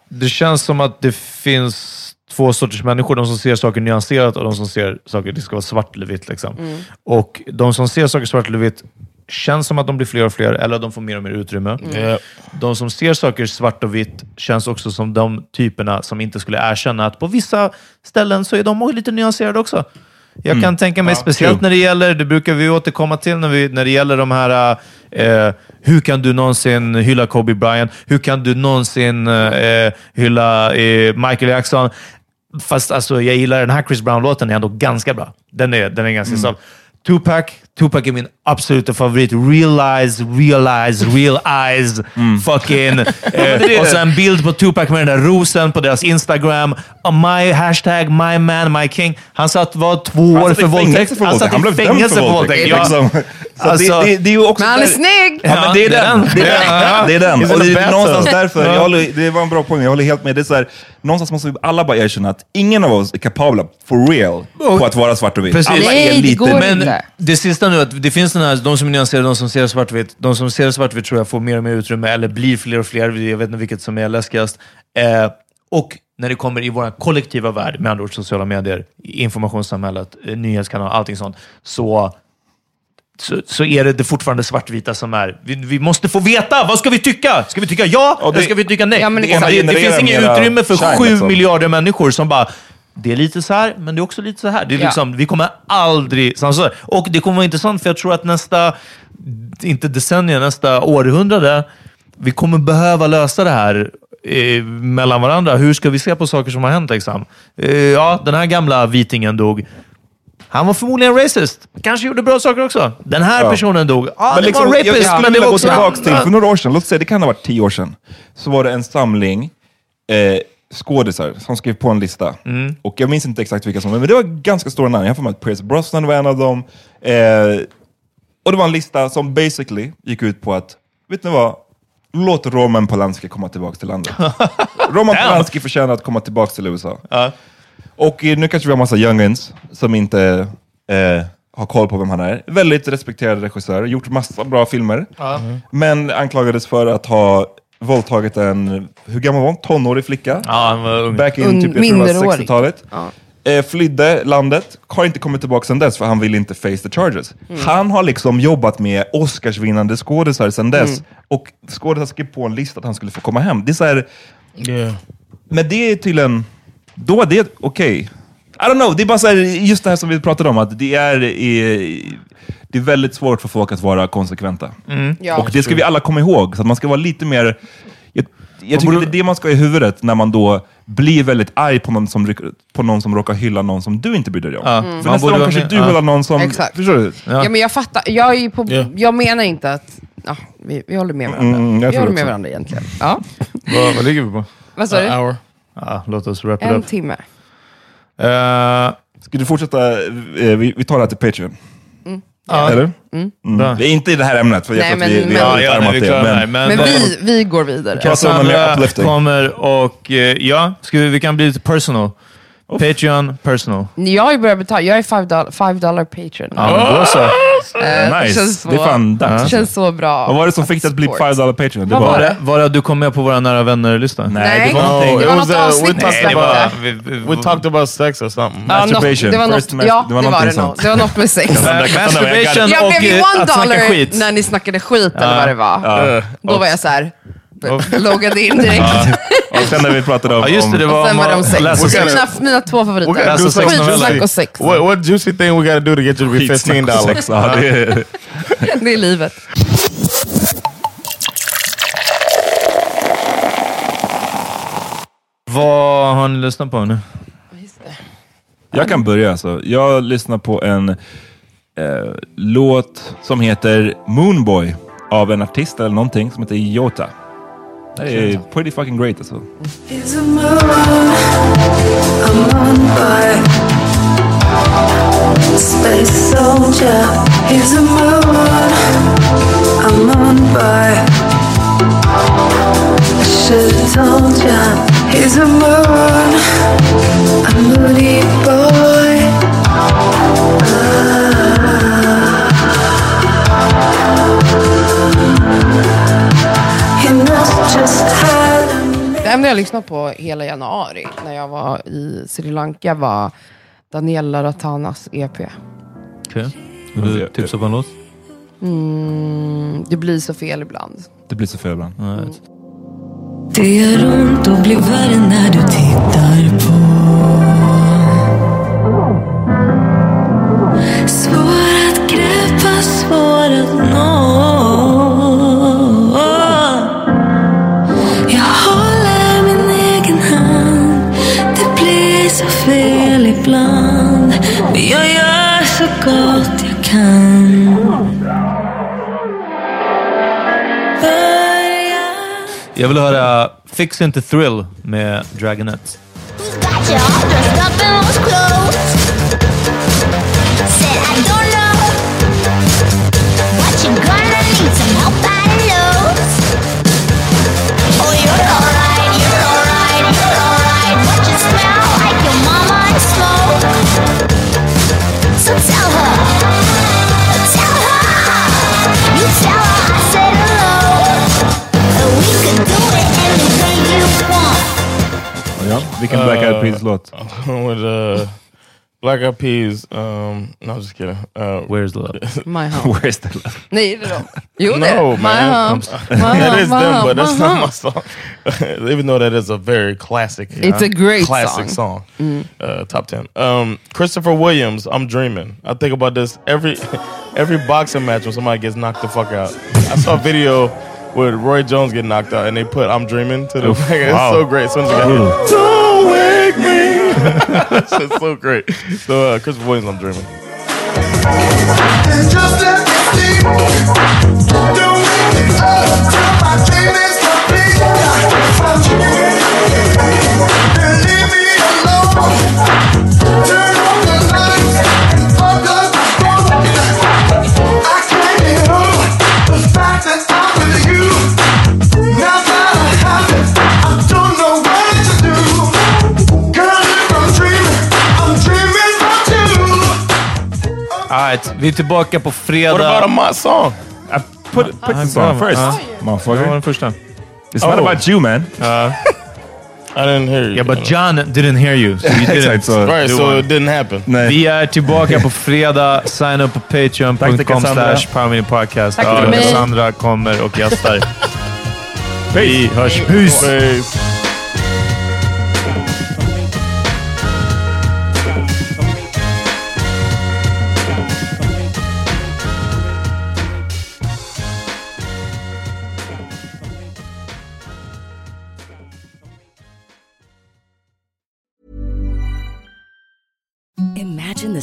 Speaker 3: det känns som att det finns två sorters människor. De som ser saker nyanserat och de som ser saker, det ska vara svart eller vitt. Liksom. Och de som ser saker svart eller vitt känns som att de blir fler och fler, eller de får mer och mer utrymme. De som ser saker svart och vitt känns också som de typerna som inte skulle erkänna att på vissa ställen så är de också lite nyanserade också. Jag kan tänka mig, speciellt när det gäller, det brukar vi återkomma till, när, vi, när det gäller de här, eh, hur kan du någonsin hylla Kobe Bryant? Hur kan du någonsin eh, hylla eh, Michael Jackson? Fast alltså, jag gillar den här Chris Brown-låten, är ändå ganska bra. Den är, den är ganska snabb. Tupac, Tupac är min absoluta favorit. Realize, realize, realize. Fucking... Eh, och sen en bild på Tupac med den där rosen på deras Instagram. Oh, my hashtag, my man, my king. Han satt, var två
Speaker 2: Han
Speaker 3: år
Speaker 2: satt i
Speaker 3: för
Speaker 2: Alltså,
Speaker 3: våldtäkt.
Speaker 2: fängelse för våldtäkt. Han
Speaker 3: i
Speaker 2: blev dömd för
Speaker 3: fängelse för våldtäkt.
Speaker 2: våldtäkt.
Speaker 3: Ja.
Speaker 2: Liksom. Så
Speaker 3: Alltså-
Speaker 2: det, det, det är ju också...
Speaker 6: Men han är snygg!
Speaker 3: Ja, men det är den.
Speaker 2: Det är den. Det är den.
Speaker 4: He's
Speaker 2: Och
Speaker 4: in
Speaker 2: det
Speaker 4: the
Speaker 2: är
Speaker 4: bathtub.
Speaker 2: någonstans därför, jag håller, det var en bra poäng, jag håller helt med. Det är så här, någonstans måste vi alla bara erkänna att ingen av oss är kapabla, for real, på att vara svart och vit.
Speaker 3: Precis.
Speaker 2: Alla är
Speaker 6: Nej, det
Speaker 2: lite...
Speaker 6: går
Speaker 2: men,
Speaker 6: inte.
Speaker 3: Det sista nu, att det finns den här, de som är nyanserade, de som ser svartvitt. De som ser svartvitt tror jag får mer och mer utrymme, eller blir fler och fler. Jag vet inte vilket som är läskigast. Eh, och när det kommer i vår kollektiva värld, med andra ord sociala medier, informationssamhället, eh, nyhetskanaler, allting sånt, så så, så är det, det fortfarande svartvita som är... Vi, vi måste få veta! Vad ska vi tycka? Ska vi tycka ja, eller ska vi tycka nej?
Speaker 6: Ja, men
Speaker 3: det,
Speaker 6: exakt.
Speaker 3: det, det finns
Speaker 2: genererar
Speaker 3: inget
Speaker 2: mera
Speaker 3: utrymme för
Speaker 2: shine,
Speaker 3: sju
Speaker 2: liksom.
Speaker 3: miljarder människor som bara det är lite så här, men det är också lite så här. Det är
Speaker 6: Ja.
Speaker 3: liksom, Vi kommer aldrig samsas. Och det kommer vara intressant, för jag tror att nästa, inte decennium, nästa århundrade, vi kommer behöva lösa det här eh, mellan varandra. Hur ska vi se på saker som har hänt? Liksom? Eh, ja, den här gamla vitingen dog. Han var förmodligen racist. Kanske gjorde bra saker också. Den här
Speaker 2: Ja.
Speaker 3: personen dog. Ja,
Speaker 2: Men
Speaker 3: det
Speaker 2: liksom,
Speaker 3: var
Speaker 2: jag-
Speaker 3: rapist,
Speaker 2: jag skulle
Speaker 3: men det
Speaker 2: vilja
Speaker 3: var
Speaker 2: gå
Speaker 3: också...
Speaker 2: tillbaka till, för några år sedan, låt säga det kan ha varit tio år sedan, så var det en samling eh, skådisar som skrev på en lista. Och jag minns inte exakt vilka som var men det var ganska stora namn. Jag har för mig att Pierce Brosnan var en av dem. Eh, och det var en lista som basically gick ut på att, vet ni vad? Låt Roman Polanski komma tillbaka till landet. Roman Polanski förtjänar att komma tillbaka till USA. Och eh, nu kanske vi har massa youngins som inte eh, har koll på vem han är. Väldigt respekterad regissör, gjort massa bra filmer.
Speaker 7: Ja. Mhm.
Speaker 2: Men anklagades för att ha våldtagit en, hur gammal var hon? Tonårig flicka?
Speaker 7: Ja, han var ung.
Speaker 2: Back in
Speaker 6: Un-
Speaker 2: typ, jag tror det var
Speaker 6: minderårig.
Speaker 2: 60-talet. Eh, flydde landet, har inte kommit tillbaka sedan dess för han vill inte face the charges. Han har liksom jobbat med Oscarsvinnande skådisar sedan dess och skådisar skrev på en lista att han skulle få komma hem. Det är så här,
Speaker 4: Yeah.
Speaker 2: men det är tydligen... Då är det okej. I don't know. Det är bara så här, just det här som vi pratade om, att det är, eh, det är väldigt svårt för folk att vara konsekventa.
Speaker 3: Mm.
Speaker 6: Ja.
Speaker 2: och det ska vi alla komma ihåg, så att man ska vara lite mer... Jag, jag tycker det är det man ska ha i huvudet när man då blir väldigt arg på någon som, ryck- på någon som råkar hylla någon som du inte bryr dig om.
Speaker 3: Ja.
Speaker 2: För
Speaker 3: Man
Speaker 2: nästa
Speaker 3: borde
Speaker 2: gång
Speaker 3: vara
Speaker 2: kanske
Speaker 3: med-
Speaker 2: du
Speaker 3: ja.
Speaker 2: hyllar någon som...
Speaker 6: Exakt.
Speaker 2: Förstår du?
Speaker 6: Ja. men jag fattar. Jag, är ju på,
Speaker 4: Ja.
Speaker 6: jag menar inte att... Ja, vi, vi håller med varandra.
Speaker 2: Mm, jag
Speaker 6: vi
Speaker 2: tror
Speaker 6: håller
Speaker 2: också.
Speaker 6: med varandra egentligen. Ja.
Speaker 7: Vad, vad ligger vi på?
Speaker 6: Vad sa du?
Speaker 4: hour.
Speaker 7: Ja, låt oss wrap it
Speaker 6: En
Speaker 7: up.
Speaker 6: timme.
Speaker 7: Eh,
Speaker 2: Ska du fortsätta? Eh, Vi, vi tar det här till Patreon.
Speaker 7: ja.
Speaker 2: Eller? Mm.
Speaker 7: Bra.
Speaker 2: Det är inte i det här ämnet, för jag
Speaker 6: Mm. Nej,
Speaker 2: tror att vi,
Speaker 6: men-
Speaker 2: vi
Speaker 6: men-
Speaker 2: har
Speaker 7: Ja, ja,
Speaker 2: utarmat
Speaker 7: nej, vi klarar det
Speaker 2: det.
Speaker 7: här,
Speaker 2: Men,
Speaker 7: men-
Speaker 6: Men
Speaker 7: vad-
Speaker 6: vi, vi går vidare.
Speaker 2: Prata om mer
Speaker 7: Cassandra
Speaker 2: uplifting.
Speaker 7: kommer och eh, ja, ska vi, vi kan bli lite personal. Patreon personal.
Speaker 6: Jag har ju börjat betala. Jag är five dollar, five dollar patron.
Speaker 7: Ja, men då så.
Speaker 6: Eh,
Speaker 2: nice.
Speaker 6: känns så-
Speaker 2: det är fan dags. alltså.
Speaker 6: Det känns så bra.
Speaker 2: Vad var det som fick dig att bli
Speaker 6: Support.
Speaker 2: $5 dollar Patreon? Det
Speaker 6: Vad
Speaker 2: var
Speaker 6: var
Speaker 7: Var det, var det att du kom med på våra nära vänner-lista?
Speaker 6: Nej, det
Speaker 2: var någonting.
Speaker 6: var,
Speaker 4: It was
Speaker 6: något
Speaker 4: a-
Speaker 6: avsnitt
Speaker 4: we
Speaker 6: som
Speaker 4: talked about-
Speaker 6: släppte.
Speaker 7: vi, vi,
Speaker 4: We talked about sex or something.
Speaker 2: Uh,
Speaker 6: Ja, något-
Speaker 2: Masturbation.
Speaker 6: Det var något,
Speaker 2: First mas-
Speaker 6: ja,
Speaker 2: det var
Speaker 6: det var
Speaker 2: någonting
Speaker 6: det
Speaker 2: sånt.
Speaker 6: nog. Det var något med sex.
Speaker 7: masturbation
Speaker 6: Jag
Speaker 7: och
Speaker 6: blev ju
Speaker 7: eh,
Speaker 6: one
Speaker 7: att snacka
Speaker 6: dollar
Speaker 7: skit. Eh,
Speaker 6: när ni snackade skit eller vad det var. Då var jag så här, loggade in direkt.
Speaker 2: Och sen när vi pratade om...
Speaker 7: Ja, just det. Det
Speaker 2: om
Speaker 7: var
Speaker 6: Sen var det om sex.
Speaker 7: läsa
Speaker 4: We're
Speaker 6: Det är
Speaker 4: gonna-
Speaker 6: mina, mina två favoriter.
Speaker 7: do sex
Speaker 6: Skitsnack
Speaker 7: noveller.
Speaker 6: och sex.
Speaker 4: What, what juicy thing we gotta do to get you to be
Speaker 2: skitsnack
Speaker 4: fifteen
Speaker 2: och
Speaker 4: dollars?
Speaker 2: sex. Ja, det är-
Speaker 6: Det är livet.
Speaker 7: Vad har ni lyssnat på nu?
Speaker 2: Jag kan börja alltså. Jag lyssnar på en eh, låt som heter Moonboy av en artist eller någonting som heter Jota. Det är pretty fucking great alltså.
Speaker 6: Ah. Det enda jag lyssnade på hela januari när jag var i Sri Lanka var Daniela Ratanas E EP.
Speaker 7: Okej. Vill du tipsa på en låt?
Speaker 6: Mm, det blir så fel ibland.
Speaker 2: Det blir så fel ibland.
Speaker 8: Det gör ont och blir värre när du tittar på Svår att greppa, svår att nå Jag håller min egen hand Det blir så fel ibland Men jag gör så gott jag kan Börja
Speaker 7: Jag vill höra Fix Inte Thrill med Dragonette.
Speaker 2: Ja, vilken
Speaker 7: Eh,
Speaker 2: Black Eyed Peas-låt?
Speaker 4: With uh, Black Eyed Peas. Um, no, I'm just kidding. Uh,
Speaker 7: Where's Love?
Speaker 6: My home.
Speaker 2: Where's the love?
Speaker 6: Nej, det är de. Jo, det är
Speaker 4: No,
Speaker 6: det. My
Speaker 4: man.
Speaker 6: home.
Speaker 4: That is them, but
Speaker 6: My
Speaker 4: that's not
Speaker 6: home.
Speaker 4: my song. Even though that is a very classic.
Speaker 6: It's a great
Speaker 4: classic song. Uh, top ten. Um, Christopher Williams. I'm dreaming. I think about this every every boxing match when somebody gets knocked the fuck out. I saw a video with Roy Jones getting knocked out, and they put "I'm dreaming" to the. it's
Speaker 2: wow.
Speaker 4: so great. As soon as you got hit. Don't wake me. That's just so great. So uh, Christopher Williams. I'm dreaming.
Speaker 7: I
Speaker 3: Alright, vi är tillbaka på fredag.
Speaker 4: What about a my song?
Speaker 2: I put, put this on first, motherfucker.
Speaker 3: Det var den första.
Speaker 2: It's not about you, man.
Speaker 3: Uh,
Speaker 4: I didn't hear you.
Speaker 3: Yeah, but John didn't hear you. So you didn't
Speaker 2: Exakt så.
Speaker 4: Right,
Speaker 3: do
Speaker 4: so
Speaker 3: one.
Speaker 4: it didn't happen.
Speaker 3: Vi är tillbaka på fredag. Sign up på
Speaker 2: Tack till
Speaker 3: patreon.com
Speaker 2: Cassandra.
Speaker 3: slash Parmini Podcast.
Speaker 6: Tack
Speaker 3: Ja,
Speaker 6: till mig.
Speaker 3: Cassandra kommer och gästar. Vi hörs. Peace!
Speaker 4: Peace.
Speaker 9: Imagine the